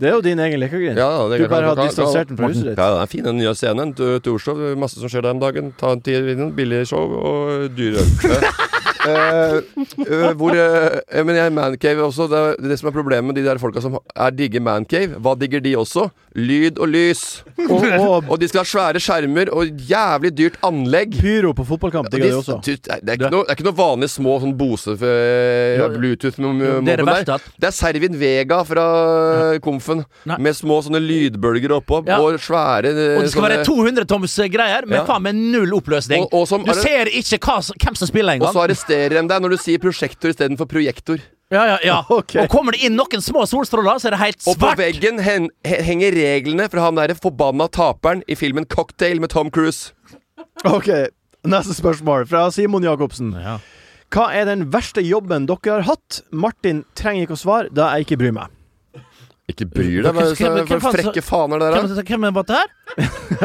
[SPEAKER 2] Det er jo din egen lekegrind.
[SPEAKER 3] Ja, ja, det
[SPEAKER 2] du
[SPEAKER 3] kan-
[SPEAKER 2] bare har
[SPEAKER 3] kan-
[SPEAKER 2] distansert den
[SPEAKER 3] kan-
[SPEAKER 2] fra huset ditt.
[SPEAKER 3] Ja, det er fin den nye scenen til til Oslo. Det er Masse som skjer der om dagen. Ta en tier inn, billig show og dyre øl. Eh, eh, hvor eh, Men jeg mancave også. Det, er det som er problemet med de der folka som er digger mancave, hva digger de også? Lyd og lys.
[SPEAKER 2] Og, og
[SPEAKER 3] Og de skal ha svære skjermer og jævlig dyrt anlegg.
[SPEAKER 2] pyro på fotballkamp digger det også.
[SPEAKER 3] Du, det, er- det er ikke noe, det er ikke noe vanlig små sånn Bose eh,
[SPEAKER 4] Jo,
[SPEAKER 3] Bluetooth med,
[SPEAKER 4] det er det verste
[SPEAKER 3] der.
[SPEAKER 4] at-
[SPEAKER 3] Det er Servin Vega fra eh, Komfen.
[SPEAKER 4] Nei.
[SPEAKER 3] Med små sånne lydbølger oppå
[SPEAKER 4] Ja.
[SPEAKER 3] og svære eh,
[SPEAKER 4] Og det skal
[SPEAKER 3] sånne-
[SPEAKER 4] være 200-toms eh, greier med
[SPEAKER 3] Ja.
[SPEAKER 4] faen meg null oppløsning.
[SPEAKER 3] Og- og som-
[SPEAKER 4] du ser ikke hva, som- hvem som spiller
[SPEAKER 3] Og så
[SPEAKER 4] engang.
[SPEAKER 3] arresterer de deg når du sier prosjektor istedenfor projektor.
[SPEAKER 4] Ja, ja, ja.
[SPEAKER 2] Ok.
[SPEAKER 4] Og kommer det inn noen små solstråler, så er det helt
[SPEAKER 3] Og på
[SPEAKER 4] svart.
[SPEAKER 3] veggen hen, he- henger reglene fra han derre forbanna taperen i filmen Cocktail med Tom Cruise.
[SPEAKER 2] Ok, Neste spørsmål fra Simon Jacobsen. Hva er den verste jobben dere har hatt? Martin trenger ikke å svare, da jeg ikke bryr meg.
[SPEAKER 3] Ikke bryr deg, hva er det
[SPEAKER 4] Hvem- hvem
[SPEAKER 3] som- for
[SPEAKER 4] faen så-
[SPEAKER 3] frekke faner dere er.
[SPEAKER 4] Hvem, hvem var det her?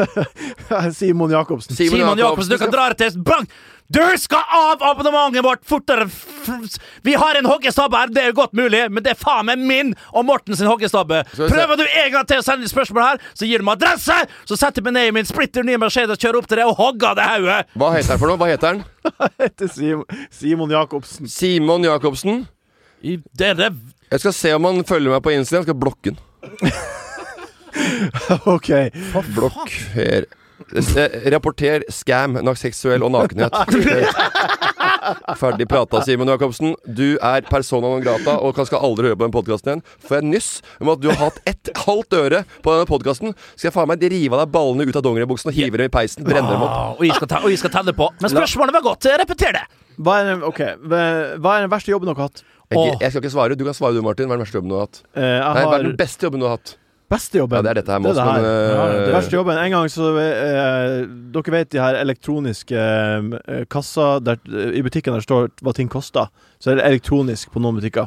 [SPEAKER 2] Simon Jacobsen.
[SPEAKER 4] Simon Jacobsen, du kan dra det til Bang! Du skal av abonnementet vårt fortere! F- Vi har en hoggestabbe her, det er godt mulig, men det er faen meg min og Morten sin hoggestabbe.
[SPEAKER 3] vi se.
[SPEAKER 4] Prøver du en gang til å sende inn spørsmål her, så gir du meg adresse! Så setter jeg meg ned i min splitter nye Mercedes, kjører opp til deg og hogger av deg hodet!
[SPEAKER 3] Hva heter han for noe? Hva heter han?
[SPEAKER 2] Heter Simon, Simon Jacobsen.
[SPEAKER 3] Simon Jacobsen.
[SPEAKER 4] I- Det er det
[SPEAKER 3] Jeg skal se om han følger meg på Instagram. Jeg skal blokke han.
[SPEAKER 2] Ok.
[SPEAKER 3] Blokk her. Eh, Rapporter scam, nok seksuell og nakenhet. Eh, Ferdig prata, Simen Jacobsen. Du er persona non grata og kan skal aldri høre på den podkasten igjen. Får jeg nyss om at du har hatt et halvt øre på denne podkasten, skal jeg faen meg rive av deg ballene ut av dongeribuksen og hive dem i peisen. Brenne dem opp.
[SPEAKER 4] Ah, og jeg skal ta- og jeg skal telle på. Men spørsmålet var godt. Repeter det.
[SPEAKER 2] Hva er, den- ok, Hva er den verste jobben dere har hatt?
[SPEAKER 3] Jeg, jeg skal ikke svare. Du kan svare du, Martin. Hva er den verste jobben du har hatt?
[SPEAKER 2] Eh, jeg
[SPEAKER 3] Nei, hva er
[SPEAKER 2] har
[SPEAKER 3] den beste jobben du har hatt?
[SPEAKER 2] beste jobben.
[SPEAKER 3] Ja, det er dette her med
[SPEAKER 2] Det er
[SPEAKER 3] oss,
[SPEAKER 2] det
[SPEAKER 3] men
[SPEAKER 4] Ja,
[SPEAKER 3] eh,
[SPEAKER 4] det
[SPEAKER 2] Verste jobben. En gang så eh, Dere vet de her elektroniske eh, kassa der, eh, i butikken der står hva ting koster. Så er det elektronisk på noen butikker.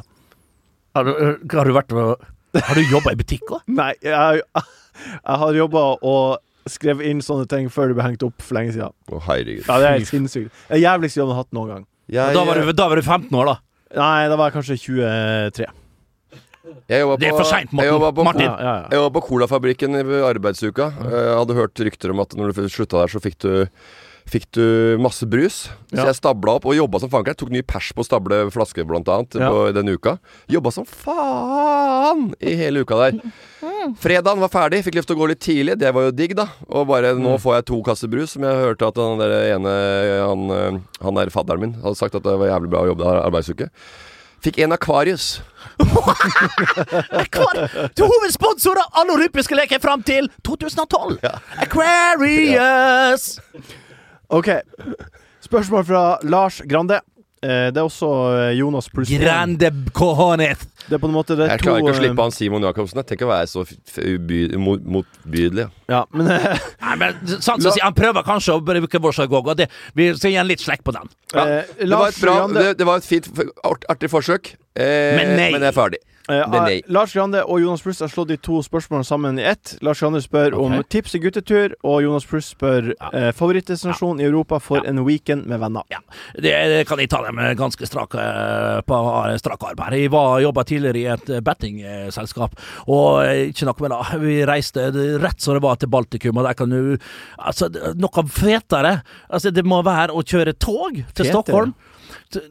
[SPEAKER 4] Har du, har du vært og Har du jobba i butikk òg?
[SPEAKER 2] Nei, jeg, jeg har jobba og skrevet inn sånne ting før det ble hengt opp for lenge siden.
[SPEAKER 3] Å, herregud.
[SPEAKER 2] Ja, det er helt sinnssykt. Det er jævligste jobben jeg har hatt noen gang.
[SPEAKER 3] Jeg,
[SPEAKER 4] Da, var du- da var du 15 år, da.
[SPEAKER 2] Nei, da var jeg kanskje 23.
[SPEAKER 3] Jeg jobba
[SPEAKER 4] Det er for sent, Morten.
[SPEAKER 3] Jeg jobba på,
[SPEAKER 4] Martin.
[SPEAKER 2] Ja, ja, ja.
[SPEAKER 3] Jeg jobba på Colafabrikken i arbeidsuka. Eh, Jeg hadde hørt rykter om at når du slutta der, så fikk du Fikk du masse brus. Så
[SPEAKER 2] Ja.
[SPEAKER 3] jeg stabla opp og jobba som fanker. Tok ny pers på å stable flasker, blant annet,
[SPEAKER 2] Ja.
[SPEAKER 3] på den uka. Jobba som faen i hele uka der. Fredagen var ferdig, fikk lov til å gå litt tidlig. Det var jo digg, da. Og bare
[SPEAKER 2] Mm.
[SPEAKER 3] nå får jeg to kasser brus, som jeg hørte at han der ene Han, eh, han der fadderen min hadde sagt at det var jævlig bra å jobbe der arbeidsuke. Fikk en Akvarius.
[SPEAKER 4] Akvar til hovedsponsor av alle olympiske leker fram til 2012! Aquarius!
[SPEAKER 2] OK. Spørsmål fra Lars Grande. Eh, det er også eh, Jonas pluss én.
[SPEAKER 4] Grande cojones!
[SPEAKER 2] Det er på en måte det er
[SPEAKER 3] Jeg klarer
[SPEAKER 2] to,
[SPEAKER 3] ikke å
[SPEAKER 2] eh,
[SPEAKER 3] slippe han Simon Jacobsen. Jeg tenker å være så f- f- uby- mot- motbydelig.
[SPEAKER 2] Ja, men eh,
[SPEAKER 4] Nei, men sant å si, Han prøver kanskje å bruke vår sjagogo. Det- Vi skal gi han litt slekk på den.
[SPEAKER 3] Ja,
[SPEAKER 2] eh,
[SPEAKER 3] det, var
[SPEAKER 2] Lars
[SPEAKER 3] et bra,
[SPEAKER 2] Grande
[SPEAKER 3] det, det var et fint, f- art, artig forsøk, eh,
[SPEAKER 4] Men nei.
[SPEAKER 3] jeg er ferdig.
[SPEAKER 2] Eh,
[SPEAKER 3] Det er nei.
[SPEAKER 2] Lars Grande og Jonas Pruss har slått de to spørsmålene sammen i ett. Lars Grande spør om tips til guttetur, og Jonas Pruss spør eh, favorittdestinasjon i Europa for en weekend med venner.
[SPEAKER 4] Ja, det, det kan jeg ta dem eh, ganske strak, eh, på eh, strak arm her. Jeg var- jobbet tidligere i et eh, bettingselskap, og eh, ikke nok med det. Vi reiste det- rett som det var til Baltikum, og der kan du Altså, det- noe fetere. Altså, det må være å kjøre tog til
[SPEAKER 2] Fetere?
[SPEAKER 4] Stockholm. T-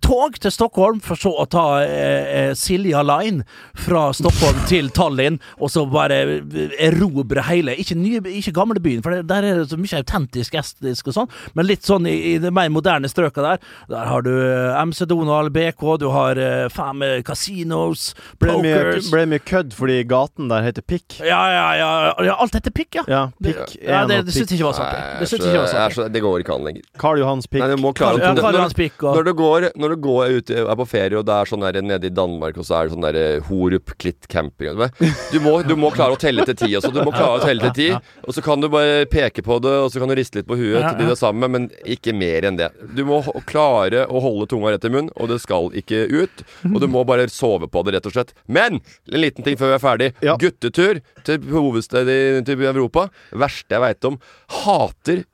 [SPEAKER 4] Tog til Stockholm, for så å ta eh, eh, Silja Line fra Stockholm til Tallinn, og så bare eh, erobre hele Ikke, nye, ikke gamlebyen, for det- der er det så mye autentisk estisk og sånn, men litt sånn i, i de mer moderne strøka der. Der har du eh, MC Donald, BK, du har eh, fem eh, casinos,
[SPEAKER 2] Ble det mye,
[SPEAKER 4] pokers
[SPEAKER 2] ble det mye kødd fordi gaten der heter Pikk?
[SPEAKER 4] ja, ja, ja, ja. Alt heter pikk, ja.
[SPEAKER 2] Ja,
[SPEAKER 4] Det-
[SPEAKER 2] pikk
[SPEAKER 4] ja,
[SPEAKER 2] én
[SPEAKER 4] det,
[SPEAKER 2] og
[SPEAKER 4] det syns
[SPEAKER 2] pikk.
[SPEAKER 4] jeg ikke var sant.
[SPEAKER 3] Nei,
[SPEAKER 4] jeg.
[SPEAKER 3] jeg
[SPEAKER 4] Det
[SPEAKER 3] er
[SPEAKER 4] syns
[SPEAKER 3] så-
[SPEAKER 4] jeg ikke var
[SPEAKER 3] jeg
[SPEAKER 4] sant.
[SPEAKER 3] er så- det går ikke an lenger.
[SPEAKER 2] Karl Johans Pikk.
[SPEAKER 3] Nei, du må klare
[SPEAKER 4] Karl- ja,
[SPEAKER 3] å-
[SPEAKER 4] Karl
[SPEAKER 3] når-
[SPEAKER 4] Johans pikk og-
[SPEAKER 3] Når du går, når du går ut, er på ferie, og det er sånn der nede i Danmark, og så er det sånn der eh, Horup Klitt camping vet du. du, må, du må klare å telle til ti også. Du må klare å telle til ti, og så kan du bare peke på det, og så kan du riste litt på huet til de du er sammen med, men ikke mer enn det. Du må ho- klare å holde tunga rett i munnen, og det skal ikke ut. Og du må bare sove på det, rett og slett. Men en liten ting før vi er ferdig.
[SPEAKER 2] Ja.
[SPEAKER 3] Guttetur til hovedstedet i til Europa. Verste jeg veit om. Hater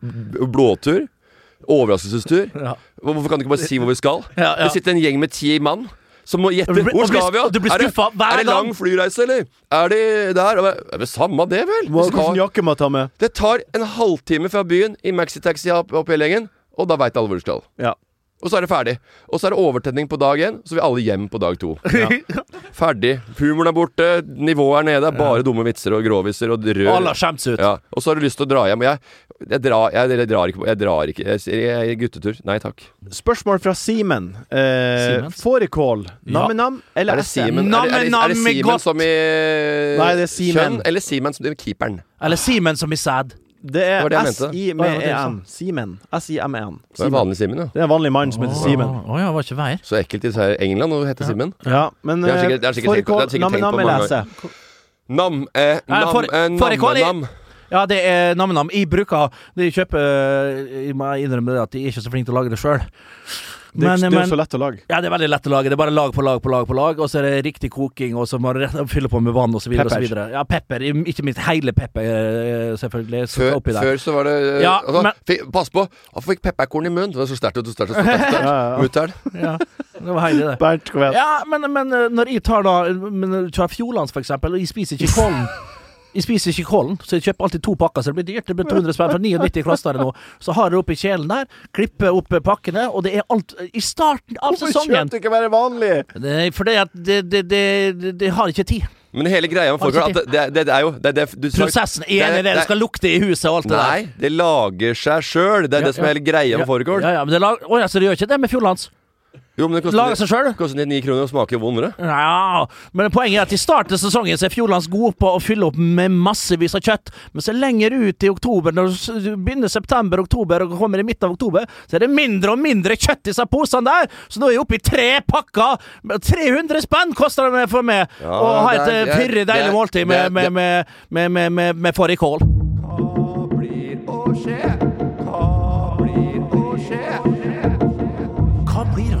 [SPEAKER 3] b- blåtur. Overraskelsestur.
[SPEAKER 4] Ja.
[SPEAKER 3] Hvorfor kan du ikke bare si hvor vi skal?
[SPEAKER 4] Ja, ja.
[SPEAKER 3] Det sitter en gjeng med ti mann som må gjette.
[SPEAKER 4] Og du blir-
[SPEAKER 3] Hvor
[SPEAKER 4] og du blir-
[SPEAKER 3] skal vi? da?
[SPEAKER 4] og du blir
[SPEAKER 3] Er det-
[SPEAKER 4] skuffet hver
[SPEAKER 3] Er det
[SPEAKER 4] gang.
[SPEAKER 3] lang flyreise, eller? Er det der? Og det Er vel samme det, vel?
[SPEAKER 2] Hva,
[SPEAKER 3] Vi
[SPEAKER 2] hvilken
[SPEAKER 3] skal.
[SPEAKER 2] jakke må jeg ta med?
[SPEAKER 3] Det tar en halvtime fra byen i maxitaxi opp, opp hele gjengen, og da veit alle hvor du skal.
[SPEAKER 2] Ja.
[SPEAKER 3] Og så er det ferdig. Og så er det overtenning på dag én, så vil alle hjem på dag to. Ferdig. Humoren er borte, nivået er nede, det er bare dumme vitser og gråviser og rød
[SPEAKER 4] Alle har skjemt seg ut.
[SPEAKER 3] ja, og så har du lyst til å dra hjem. og Jeg, jeg, drar, jeg, jeg drar ikke på Jeg drar ikke. Jeg, sier, jeg, jeg guttetur. Nei takk.
[SPEAKER 2] Spørsmål fra Simen. Eh,
[SPEAKER 4] Siemens?
[SPEAKER 2] Fårikål,
[SPEAKER 4] Ja.
[SPEAKER 2] nam-nam eller
[SPEAKER 3] Er det
[SPEAKER 2] SM?
[SPEAKER 3] Simen er, det- er, det- er det
[SPEAKER 4] Namme, namme,
[SPEAKER 3] Simen
[SPEAKER 4] godt.
[SPEAKER 3] som i
[SPEAKER 2] Nei, det er Simen.
[SPEAKER 3] kjønn, eller Simen som i keeperen?
[SPEAKER 4] Eller Simen som i sæd.
[SPEAKER 2] Det er
[SPEAKER 3] Det var det jeg mente.
[SPEAKER 2] S-I-M-E-N. E Simen. S-I-M-E-N.
[SPEAKER 3] sånn. Det er
[SPEAKER 2] E Simen.
[SPEAKER 3] vanlig Simen, ja.
[SPEAKER 2] Det er en vanlig mann som heter Simen.
[SPEAKER 4] Å ja, var ikke vei.
[SPEAKER 3] Så ekkelt i seg- England å hete Simen.
[SPEAKER 2] Ja, men
[SPEAKER 3] Det er sikkert- det er
[SPEAKER 2] eh,
[SPEAKER 3] sikkert tenkt på- det er
[SPEAKER 2] fårikål,
[SPEAKER 3] sikkert tenkt på
[SPEAKER 2] nam-nam
[SPEAKER 3] mange
[SPEAKER 2] eller
[SPEAKER 3] ganger.
[SPEAKER 2] SM?
[SPEAKER 3] Nam, eh, nam,
[SPEAKER 4] for-
[SPEAKER 3] eh,
[SPEAKER 4] fårikål i-
[SPEAKER 3] nam, nam.
[SPEAKER 4] Ja, det er nam-nam. Jeg bruker Jeg kjøper eh, Jeg må innrømme det at jeg er ikke så flink til å lage det sjøl.
[SPEAKER 2] Det er det er jo så lett å lage.
[SPEAKER 4] ja, det er veldig lett å lage. Det er bare lag på lag på lag, på lag og så er det riktig koking, og så må du rett- fylle på med vann osv.
[SPEAKER 2] Pepper.
[SPEAKER 4] Ja, pepper. Ikke minst hele pepper, eh, selvfølgelig. Så
[SPEAKER 3] Før,
[SPEAKER 4] oppi der.
[SPEAKER 3] før så var det eh,
[SPEAKER 4] Ja,
[SPEAKER 3] altså,
[SPEAKER 4] men-
[SPEAKER 3] fikk, Pass på! Han fikk pepperkorn i munnen. Det var så sterkt og så sterkt. og så sterkt,
[SPEAKER 2] Ja, ja, ja.
[SPEAKER 3] så sterkt. Mutter'n.
[SPEAKER 4] Ja, det var heilig, det.
[SPEAKER 2] Bernt, kom igjen.
[SPEAKER 4] Ja, men, men eh, når jeg tar da men når jeg Kjører Fjordlands, for eksempel, og jeg spiser ikke kålen Jeg spiser ikke kålen, så jeg kjøper alltid to pakker, så det blir dyrt. Det blir 200 spenn for 99 koster det nå. Så har jeg det oppi kjelen der, klipper opp eh, pakkene, og det er alt eh, I starten av sesongen!
[SPEAKER 2] du ikke bare vanlig?
[SPEAKER 4] Det er Fordi at det, det, det, det, det har ikke tid.
[SPEAKER 3] Men hele greia med fårikål er at det, det, det er jo det, det, du,
[SPEAKER 4] Prosessen er enig i det, det skal lukte i huset og alt det der.
[SPEAKER 3] Nei, det lager seg sjøl. Det er det som er hele greia med fårikål.
[SPEAKER 4] Ja, ja, men det lag, å, ja, så det gjør ikke det med Fjordlands?
[SPEAKER 3] Jo, men det
[SPEAKER 4] Lager
[SPEAKER 3] koster,
[SPEAKER 4] seg sjøl?
[SPEAKER 3] koster 99 kroner og smaker jo vondere.
[SPEAKER 4] Ja, men poenget er at i starten av sesongen så er Fjordlands god på å fylle opp med massevis av kjøtt, men så lenger ut i oktober, når du begynner september-oktober og kommer i midten av oktober, så er det mindre og mindre kjøtt i disse posene der, så nå er jeg oppe i tre pakker. 300 spenn koster det for meg
[SPEAKER 3] Ja,
[SPEAKER 4] å ha et
[SPEAKER 3] det er-
[SPEAKER 4] eh,
[SPEAKER 3] det
[SPEAKER 4] pyrre
[SPEAKER 3] er-
[SPEAKER 4] deilig måltid med,
[SPEAKER 3] det-
[SPEAKER 4] med,
[SPEAKER 3] det-
[SPEAKER 4] med, med, med, med, med fårikål.
[SPEAKER 7] Hva blir å skje? Hva blir å skje?
[SPEAKER 4] Hva blir å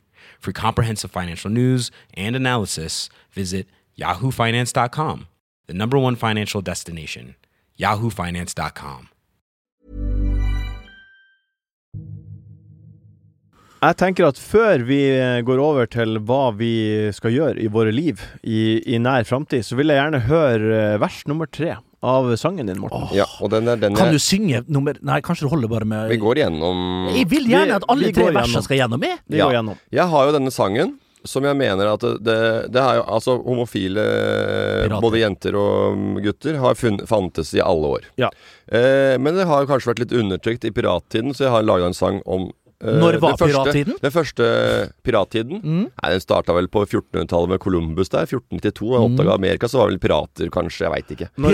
[SPEAKER 6] For comprehensive financial news and analysis, visit yahoofinance.com, the number one financial destination, yahoofinance.com.
[SPEAKER 2] Jeg tenker at før vi eh, går over til hva vi skal gjøre i våre liv i, i nær framtid, så vil jeg gjerne høre eh, vers nummer tre av sangen din, Morten.
[SPEAKER 3] Ja, og den er den
[SPEAKER 4] Kan du
[SPEAKER 3] jeg,
[SPEAKER 4] synge nummer Nei, kanskje du holder bare med
[SPEAKER 3] vi går gjennom
[SPEAKER 4] Jeg vil gjerne at alle
[SPEAKER 2] Vi- vi
[SPEAKER 4] tre
[SPEAKER 2] går
[SPEAKER 4] versene
[SPEAKER 2] gjennom.
[SPEAKER 4] skal gjennom i.
[SPEAKER 2] Vi
[SPEAKER 3] Ja.
[SPEAKER 2] går gjennom.
[SPEAKER 3] Jeg har jo denne sangen som jeg mener at det, det er jo Altså, homofile
[SPEAKER 4] Pirater.
[SPEAKER 3] Både jenter og mm, gutter har funn- fantes i alle år.
[SPEAKER 2] Ja.
[SPEAKER 3] Eh, men det har jo kanskje vært litt undertrykt i pirattiden, så jeg har laga en sang om eh,
[SPEAKER 4] Når var
[SPEAKER 3] den første-
[SPEAKER 4] pirattiden? Mm.
[SPEAKER 3] Den første pirattiden? Nei, Den starta vel på 1400-tallet med Columbus der. 1492.
[SPEAKER 4] Mm.
[SPEAKER 3] Jeg oppdaga Amerika, så var vel pirater, kanskje. Jeg veit ikke.
[SPEAKER 2] Når-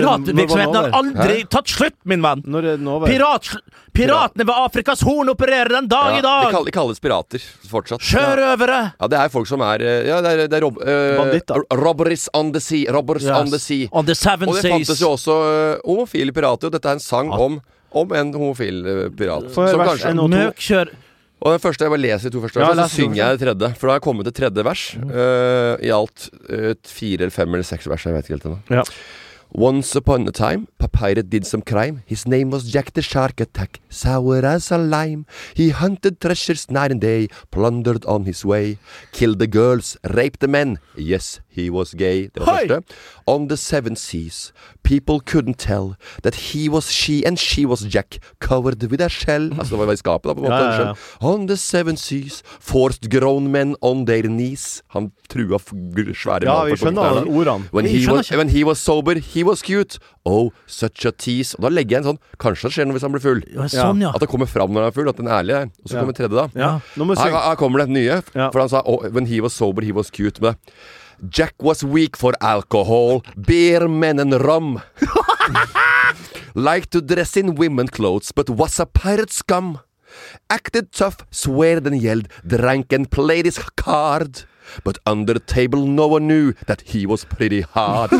[SPEAKER 2] når var
[SPEAKER 4] Piratvirksomheten har
[SPEAKER 2] den over?
[SPEAKER 4] aldri tatt slutt, min venn!
[SPEAKER 2] Når er den over?
[SPEAKER 4] Pirat, piratene ved Afrikas Horn opererer den dag
[SPEAKER 3] Ja,
[SPEAKER 4] i
[SPEAKER 3] de,
[SPEAKER 4] dag!
[SPEAKER 3] kall, de kalles pirater fortsatt.
[SPEAKER 4] Sjørøvere!
[SPEAKER 3] Ja, det er folk som er eh, Ja, det er, det er rob, eh,
[SPEAKER 2] Banditter.
[SPEAKER 3] Robbers on the sea. Robbers on the sea.
[SPEAKER 4] On the seven
[SPEAKER 3] Og det
[SPEAKER 4] seas.
[SPEAKER 3] fantes jo også eh, homofile pirater, og dette er en sang om om en homofil eh, pirat.
[SPEAKER 2] Få høre
[SPEAKER 3] Som
[SPEAKER 2] vers
[SPEAKER 3] kanskje,
[SPEAKER 2] en og to.
[SPEAKER 4] Møkkjør
[SPEAKER 3] og den første, Jeg bare leser de to første
[SPEAKER 2] Ja,
[SPEAKER 3] versene,
[SPEAKER 2] les de
[SPEAKER 3] så
[SPEAKER 2] to Mm.
[SPEAKER 3] synger jeg det tredje. For da har jeg kommet til tredje vers. eh, I alt eh, fire eller fem eller seks vers. Jeg vet ikke helt ennå.
[SPEAKER 2] Ja.
[SPEAKER 3] Once upon a time, a pirate did some crime. His name was Jack the Shark Attack, sour as a lime. He hunted treasures night and day, plundered on his way. Killed the girls, raped the men. Yes, he was gay. Det var
[SPEAKER 4] Hei!
[SPEAKER 3] første. On the seven seas, people couldn't tell that he was she and she was Jack, covered with a shell. Altså, det var i skapet, da, på en måte.
[SPEAKER 2] Ja, ja, ja.
[SPEAKER 3] en skjell. On the seven seas, forced grown men on their knees. Han trua f- gr- svære
[SPEAKER 2] Ja,
[SPEAKER 3] mannfolk
[SPEAKER 2] vi
[SPEAKER 3] på
[SPEAKER 2] skjønner
[SPEAKER 3] knærne.
[SPEAKER 2] alle ordene.
[SPEAKER 3] When
[SPEAKER 4] Jeg
[SPEAKER 3] he,
[SPEAKER 4] skjønner
[SPEAKER 3] was,
[SPEAKER 4] ikke.
[SPEAKER 3] when he was sober, he was cute. Oh, such a tease. Og da legger jeg en sånn Kanskje det skjer noe hvis han blir full.
[SPEAKER 4] Ja, Sånn, ja.
[SPEAKER 3] At det kommer fram når han er full, at den er ærlig er. Og så
[SPEAKER 2] Ja.
[SPEAKER 3] kommer tredje, da.
[SPEAKER 2] Ja. Nå må du
[SPEAKER 3] Her,
[SPEAKER 2] synge.
[SPEAKER 3] her kommer det nye.
[SPEAKER 2] Ja.
[SPEAKER 3] For han sa oh, When he was sober, he was cute. Med Jack was weak for alcohol, beer, men and rum. Liked to dress in women clothes, but was a pirate scum. Acted tough, sweared and yelled, drank and played his card. But under the table no one knew that he was pretty hard.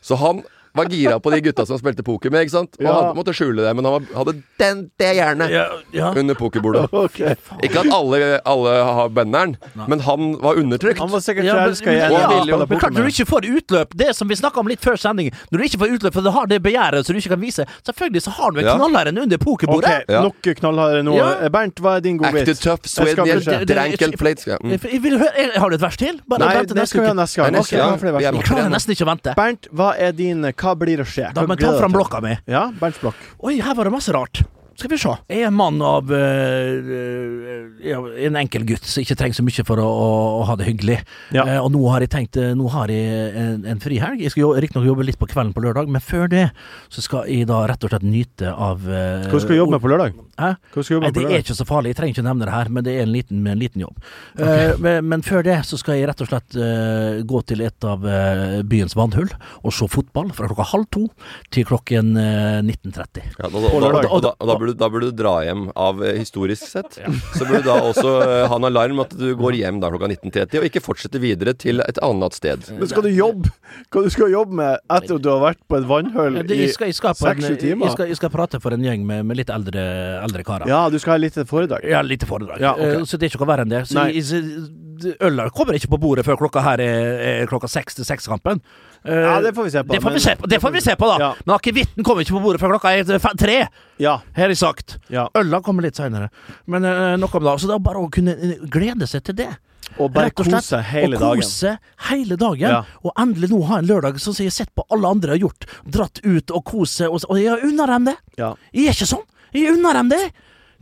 [SPEAKER 3] Så han var gira på de gutta som spilte poker med, ikke sant? Og
[SPEAKER 2] Ja.
[SPEAKER 3] han måtte skjule det, men han var- hadde den det jernet
[SPEAKER 4] ja, ja.
[SPEAKER 3] under pokerbordet.
[SPEAKER 2] Ok.
[SPEAKER 3] Ikke at alle, alle har benderen, men han var undertrykt.
[SPEAKER 2] Han var sikkert
[SPEAKER 4] Ja, men-
[SPEAKER 2] forelska i
[SPEAKER 4] men-
[SPEAKER 2] en
[SPEAKER 4] ja,
[SPEAKER 2] av de
[SPEAKER 3] ville jo-
[SPEAKER 2] spiller
[SPEAKER 4] Men
[SPEAKER 2] poker
[SPEAKER 4] klart når du
[SPEAKER 2] med.
[SPEAKER 4] ikke får utløp, det som vi snakka om litt før sending Når du ikke får utløp for du har det begjæret som du ikke kan vise, selvfølgelig så har du en
[SPEAKER 3] Ja.
[SPEAKER 4] knallhær enn under
[SPEAKER 2] Ok,
[SPEAKER 4] pokerbordet.
[SPEAKER 3] Ja.
[SPEAKER 2] nok knallharde nå.
[SPEAKER 4] Ja.
[SPEAKER 2] Bernt, hva er din godbit?
[SPEAKER 3] Acted tough,
[SPEAKER 2] Jeg skal
[SPEAKER 3] Sweden,
[SPEAKER 2] ikke-
[SPEAKER 3] drank and played ja, mm.
[SPEAKER 4] Jeg, jeg vil høre, jeg, har du et vers til? Bare
[SPEAKER 2] Nei,
[SPEAKER 4] vent til
[SPEAKER 2] det
[SPEAKER 4] neste
[SPEAKER 2] skal vi
[SPEAKER 4] uke.
[SPEAKER 2] gjøre neste gang.
[SPEAKER 3] Nei, neste
[SPEAKER 2] Ok,
[SPEAKER 3] gang.
[SPEAKER 2] hva er flere vers?
[SPEAKER 3] Vi er
[SPEAKER 4] Jeg klarer nesten ikke å vente.
[SPEAKER 2] Bernt, hva er din Hva blir å skje?
[SPEAKER 4] Da,
[SPEAKER 2] Hva
[SPEAKER 4] men
[SPEAKER 2] gleder du
[SPEAKER 4] ta fram
[SPEAKER 2] til?
[SPEAKER 4] blokka mi.
[SPEAKER 2] Ja, Bernt-blokk.
[SPEAKER 4] Oi, her var det masse rart. Skal vi se. Jeg er en mann av eh, eh, ja, En enkel gutt som ikke trenger så mye for å, å, å ha det hyggelig.
[SPEAKER 2] Ja.
[SPEAKER 4] Eh, og nå har jeg tenkt eh, Nå har jeg en, en frihelg. Jeg skal riktignok jobbe litt på kvelden på lørdag, men før det så skal jeg da rett og slett nyte av uh,
[SPEAKER 2] Hva skal du jobbe med på lørdag?
[SPEAKER 4] Hæ?
[SPEAKER 2] Hva skal du jobbe
[SPEAKER 4] Nei,
[SPEAKER 2] med
[SPEAKER 4] det
[SPEAKER 2] på
[SPEAKER 4] er
[SPEAKER 2] lørdag?
[SPEAKER 4] ikke så farlig, jeg trenger ikke nevne det her, men det er en liten, en liten jobb. Eh, men, men før det så skal jeg rett og slett eh, gå til et av eh, byens vannhull og se fotball fra klokka halv to til klokken eh, 19.30.
[SPEAKER 3] Ja, da, da, da,
[SPEAKER 2] lørdag.
[SPEAKER 3] og da, og da, burde, da burde du dra hjem av eh, historisk sett. Så burde du da også eh, ha en alarm at du går hjem da klokka 19.30, og ikke fortsette videre til et annet sted.
[SPEAKER 2] Men skal du jobbe Hva du skal jobbe med etter at du har vært på et vannhull
[SPEAKER 4] Ja, Eh, det-
[SPEAKER 2] i
[SPEAKER 4] Jeg skal, jeg skal, på en-
[SPEAKER 2] 6-7 timer?
[SPEAKER 4] jeg skal, jeg skal prate for en gjeng med, med litt eldre, eldre karer.
[SPEAKER 2] Ja, du skal ha litt foredrag?
[SPEAKER 4] Ja, lite foredrag.
[SPEAKER 2] Ja, ok.
[SPEAKER 4] Eh, Så det er ikke noe verre enn det. Så
[SPEAKER 2] Nei.
[SPEAKER 4] jeg, så- øla kommer ikke på bordet før klokka her er, er klokka seks til sekskampen. Eh,
[SPEAKER 2] Ja, det får vi se på,
[SPEAKER 4] Det får vi
[SPEAKER 2] men-
[SPEAKER 4] se på, det får vi se på da.
[SPEAKER 2] Ja.
[SPEAKER 4] Men akevitten kommer ikke på bordet før klokka er fe- tre,
[SPEAKER 2] Ja.
[SPEAKER 4] har jeg sagt.
[SPEAKER 2] ja.
[SPEAKER 4] Øla kommer litt seinere. Men eh, nok om det. Så det er bare å kunne eh, glede seg til det.
[SPEAKER 2] Og bare
[SPEAKER 4] Rett og slett,
[SPEAKER 2] kose hele
[SPEAKER 4] og
[SPEAKER 2] dagen.
[SPEAKER 4] kose hele dagen.
[SPEAKER 2] Ja.
[SPEAKER 4] Og endelig nå ha en lørdag sånn som jeg har sett på alle andre har gjort. Dratt ut og kose, og, og jeg unner dem det.
[SPEAKER 2] Ja.
[SPEAKER 4] Jeg er ikke sånn. Jeg unner dem det.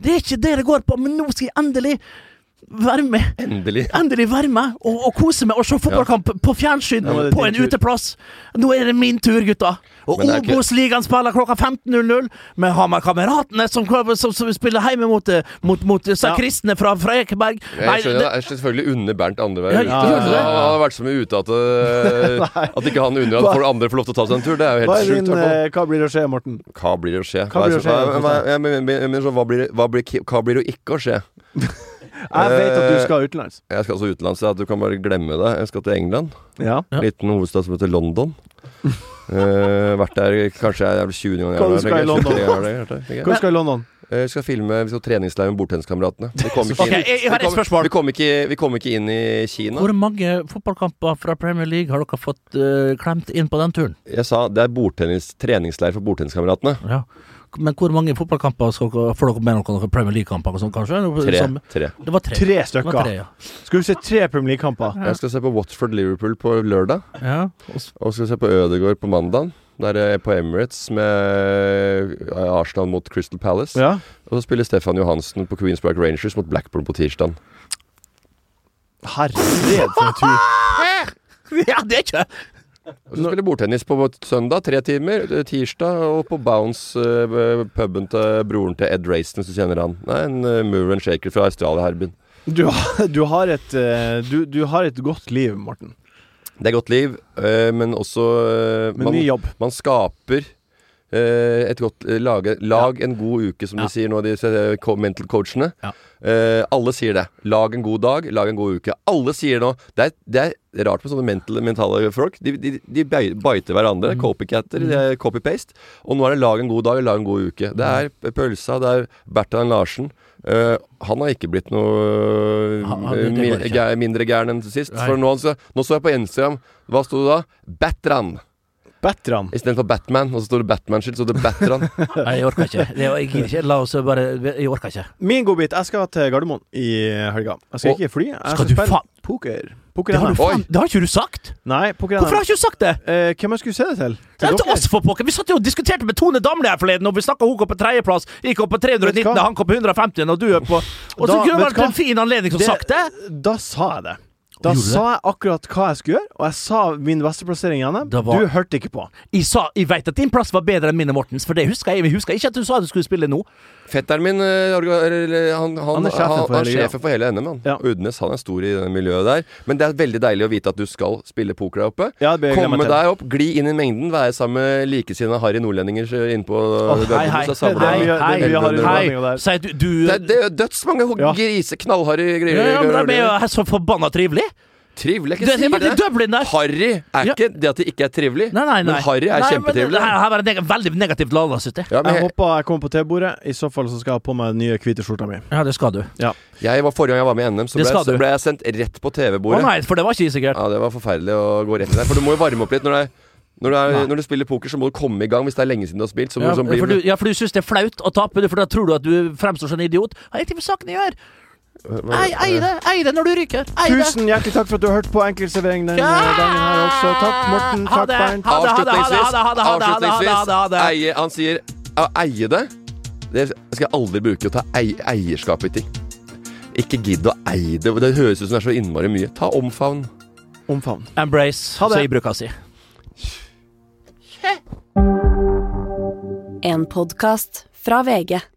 [SPEAKER 4] Det er ikke det det går på, men nå skal jeg endelig være med.
[SPEAKER 3] Endelig.
[SPEAKER 4] Endelig være med og, og kose meg og se fotballkamp på fjernsyn
[SPEAKER 2] Nå er det
[SPEAKER 4] på
[SPEAKER 2] din
[SPEAKER 4] en
[SPEAKER 2] tur.
[SPEAKER 4] uteplass. Nå er det min tur, gutta. Og
[SPEAKER 3] Men det er ikke-
[SPEAKER 4] Obos-ligaen spiller klokka 15.00. Vi har med kameratene som, som, som spiller hjemme mot, eh, mot, mot, disse
[SPEAKER 2] Ja.
[SPEAKER 4] kristne fra, fra Ekeberg. Nei,
[SPEAKER 3] Jeg skjønner, det er selvfølgelig under Bernt andre
[SPEAKER 4] Ja,
[SPEAKER 3] veien.
[SPEAKER 4] ja,
[SPEAKER 2] ja, ja.
[SPEAKER 3] Han har vært så mye ute at, eh, at ikke han unner at folk andre får lov til å ta seg en tur. Det er jo
[SPEAKER 2] Hva er
[SPEAKER 3] helt sjukt.
[SPEAKER 2] din
[SPEAKER 3] i hvert fall.
[SPEAKER 2] eh, Hva blir å skje, Morten?
[SPEAKER 3] Hva blir det å skje?
[SPEAKER 2] Hva blir det å skje?
[SPEAKER 3] Hva- hva- jeg mener- jeg mener sånn, hva blir det- hva blir- Hva blir det å ikke å skje?
[SPEAKER 2] Jeg vet at du skal utenlands.
[SPEAKER 3] Jeg skal altså utenlands, så du kan bare glemme det. Jeg skal til England.
[SPEAKER 2] Ja.
[SPEAKER 4] Ja.
[SPEAKER 3] Liten hovedstad som heter London. Eh, vært der kanskje jeg er vel 20. gang jeg
[SPEAKER 2] Hva
[SPEAKER 3] har
[SPEAKER 2] du skal i London? Hvor skal du i London?
[SPEAKER 3] Jeg Eh, skal filme vi skal treningsleir med bordtenniskameratene. Vi kom ikke
[SPEAKER 4] Ok, jeg- jeg har
[SPEAKER 3] vi kom-
[SPEAKER 4] et spørsmål.
[SPEAKER 3] Vi kom, ikke, vi kom ikke inn i Kina.
[SPEAKER 4] Hvor mange fotballkamper fra Premier League har dere fått eh, klemt inn på den turen?
[SPEAKER 3] Jeg sa det er bordtennis, treningsleir for bordtenniskameratene.
[SPEAKER 4] Ja. Men hvor mange fotballkamper skal dere, får dere med noen Premier League-kamper? og sånn, kanskje?
[SPEAKER 3] Tre.
[SPEAKER 4] Som-
[SPEAKER 3] tre.
[SPEAKER 4] det var tre.
[SPEAKER 2] Tre
[SPEAKER 4] Det var
[SPEAKER 2] stykker.
[SPEAKER 4] tre, ja.
[SPEAKER 2] Skal du se tre Premier League-kamper?
[SPEAKER 3] Jeg skal se på Watford Liverpool på lørdag.
[SPEAKER 4] ja. og s-
[SPEAKER 3] Og skal se på Ødegaard på mandag. Der er jeg på Emirates med eh, Arsenal mot Crystal Palace.
[SPEAKER 2] Ja.
[SPEAKER 3] Og så spiller Stefan Johansen på Queens Park Rangers mot Blackburn på tirsdag.
[SPEAKER 2] Herregud, for en tur.
[SPEAKER 4] ja, det er ikke
[SPEAKER 3] Og så spiller bordtennis på søndag, tre timer. eh, Tirsdag og på Bounce, eh, puben til broren til Ed Rayston, hvis du kjenner han. Nei, en uh, mover and shaker fra Australia-Herbin.
[SPEAKER 2] Du, har- du, har et, eh, du, du har et godt liv, Morten.
[SPEAKER 3] Det er godt liv, eh, men også eh,
[SPEAKER 2] Med ny jobb.
[SPEAKER 3] man skaper eh, et godt eh, lage, Lag en god uke, som
[SPEAKER 4] Ja.
[SPEAKER 3] de sier nå, de eh, co- mental coachene.
[SPEAKER 4] Ja.
[SPEAKER 3] Eh, alle sier det. Lag en god dag, lag en god uke. Alle sier nå Det er, det er rart med sånne mental, mentale folk. De, de, de bei- biter hverandre.
[SPEAKER 4] Mm.
[SPEAKER 3] Copycatter. De er copy-paste. Og nå er det lag en god dag, lag en god uke. Det er
[SPEAKER 4] Mm.
[SPEAKER 3] p- pølsa, det er Bertrand Larsen. Eh, han har ikke blitt noe eh,
[SPEAKER 4] Han- han- det- det går
[SPEAKER 3] mi-
[SPEAKER 4] ikke.
[SPEAKER 3] gæ- mindre gæren enn sist.
[SPEAKER 4] Nei.
[SPEAKER 3] For nå, han sa- nå så jeg på Instagram. Hva sto det da? Bertrand.
[SPEAKER 2] Bertram.
[SPEAKER 3] Istedenfor Batman, og så står det Batman-skilt, så det er Batran.
[SPEAKER 4] Nei, jeg orker ikke. Det, jeg gidder ikke. La oss bare Jeg orker ikke.
[SPEAKER 2] Min godbit. Jeg skal til Gardermoen i helga. Jeg skal
[SPEAKER 3] Og-
[SPEAKER 2] ikke fly. Jeg skal,
[SPEAKER 4] du
[SPEAKER 2] spille
[SPEAKER 4] faen-
[SPEAKER 2] poker.
[SPEAKER 4] Det har, du
[SPEAKER 2] Poker-NM.
[SPEAKER 3] Oi.
[SPEAKER 4] faen, det har ikke du sagt!
[SPEAKER 2] Nei,
[SPEAKER 4] Hvorfor har
[SPEAKER 2] poker-NM.
[SPEAKER 4] ikke du sagt det?
[SPEAKER 2] Eh, hvem jeg skulle se det til?
[SPEAKER 4] Det er
[SPEAKER 2] Til
[SPEAKER 4] til oss for pokker. Vi satt jo og diskuterte med Tone Damli her forleden, og vi snakka hun kom på tredjeplass, gikk opp på 319,
[SPEAKER 2] Vet du hva?
[SPEAKER 4] han kom på 150, og du er på Og så
[SPEAKER 2] Da-
[SPEAKER 4] kunne det
[SPEAKER 2] vet du
[SPEAKER 4] vært
[SPEAKER 2] hva?
[SPEAKER 4] en fin anledning til å sagt det.
[SPEAKER 2] Da sa jeg det. Da
[SPEAKER 4] Gjorde du
[SPEAKER 2] sa jeg akkurat hva jeg skulle gjøre, og jeg sa min beste plassering i NM.
[SPEAKER 4] Da var-
[SPEAKER 2] Du hørte ikke på.
[SPEAKER 4] Jeg, sa, jeg vet at din plass var bedre enn min og Mortens, for det husker jeg. Jeg husker ikke at du sa du skulle spille nå.
[SPEAKER 3] Fetteren min eh, orga- eller, han, han,
[SPEAKER 2] Han er sjefen
[SPEAKER 3] han,
[SPEAKER 2] for
[SPEAKER 3] han er
[SPEAKER 2] hele greia.
[SPEAKER 3] sjefen for hele NM. Han.
[SPEAKER 2] Ja.
[SPEAKER 3] Udnes han er stor i det miljøet der. Men det er veldig deilig å vite at du skal spille poker der oppe.
[SPEAKER 2] Ja, det bør jeg glemme
[SPEAKER 3] Komme
[SPEAKER 2] til.
[SPEAKER 3] deg opp, gli inn i mengden, være sammen med likesinnede harry nordlendinger eh, innpå oh,
[SPEAKER 4] Hei, hei, hei, hei, hei, hei. Sier du, du
[SPEAKER 3] Det, er- det er dødsmange ho-
[SPEAKER 2] Ja.
[SPEAKER 3] grise, knallharry
[SPEAKER 4] ja,
[SPEAKER 3] greier.
[SPEAKER 4] ja, men De er jo her så forbanna trivelige.
[SPEAKER 3] Trivelig,
[SPEAKER 4] Det
[SPEAKER 3] jeg
[SPEAKER 4] er
[SPEAKER 3] ikke
[SPEAKER 4] veldig
[SPEAKER 3] sier det.
[SPEAKER 4] Dublin der.
[SPEAKER 3] Harry er
[SPEAKER 4] Ja.
[SPEAKER 3] ikke det at det ikke er trivelig,
[SPEAKER 4] Nei, nei, nei.
[SPEAKER 3] men harry er
[SPEAKER 4] Nei, men
[SPEAKER 3] kjempetrivelig.
[SPEAKER 4] det Her, her var det neg veldig negativt lada, syns jeg.
[SPEAKER 3] Ja, men
[SPEAKER 2] Jeg
[SPEAKER 3] jeg,
[SPEAKER 2] håper jeg kommer på T-bordet. I så fall så skal jeg ha på meg den nye hvite skjorta mi.
[SPEAKER 4] Ja, det skal du. Å
[SPEAKER 3] jeg var, forrige gang jeg var med i NM, så
[SPEAKER 4] Det
[SPEAKER 3] ble,
[SPEAKER 4] skal
[SPEAKER 3] jeg- så
[SPEAKER 4] du.
[SPEAKER 3] ble jeg sendt rett på TV-bordet.
[SPEAKER 4] nei, for det var ikke sikkert.
[SPEAKER 3] Ja, det var forferdelig å gå rett i der. For du må jo varme opp litt når du, er, når, du er, når du spiller poker, så må du komme i gang hvis det er lenge siden du har spilt. Så må
[SPEAKER 4] Ja,
[SPEAKER 3] du sånn bli,
[SPEAKER 4] for du, ja, for du syns det er flaut å tape, du- for da tror du at du fremstår som en idiot. Har ingenting med saken å gjøre. Ei, ei det, ei det når du ryker. Ei det.
[SPEAKER 2] Tusen hjertelig takk for at du hørte på Enkeltservering denne dagen her også. Takk, Morten.
[SPEAKER 4] Ha
[SPEAKER 2] Takk,
[SPEAKER 4] det.
[SPEAKER 2] Bernt.
[SPEAKER 4] Ha det, ha det, ha det, ha det, ha det, ha det, ha det, ha det, ha det, ha det.
[SPEAKER 3] avslutningsvis eie, Han sier å eie det. Det skal jeg aldri bruke. Å ta ei, eierskap i ting. Ikke gidd å eie det. Det høres ut som det er så innmari mye. Ta omfavn.
[SPEAKER 2] Omfavn.
[SPEAKER 4] Embrace,
[SPEAKER 2] Ha det.
[SPEAKER 4] sier bruka si.
[SPEAKER 1] En podkast fra VG.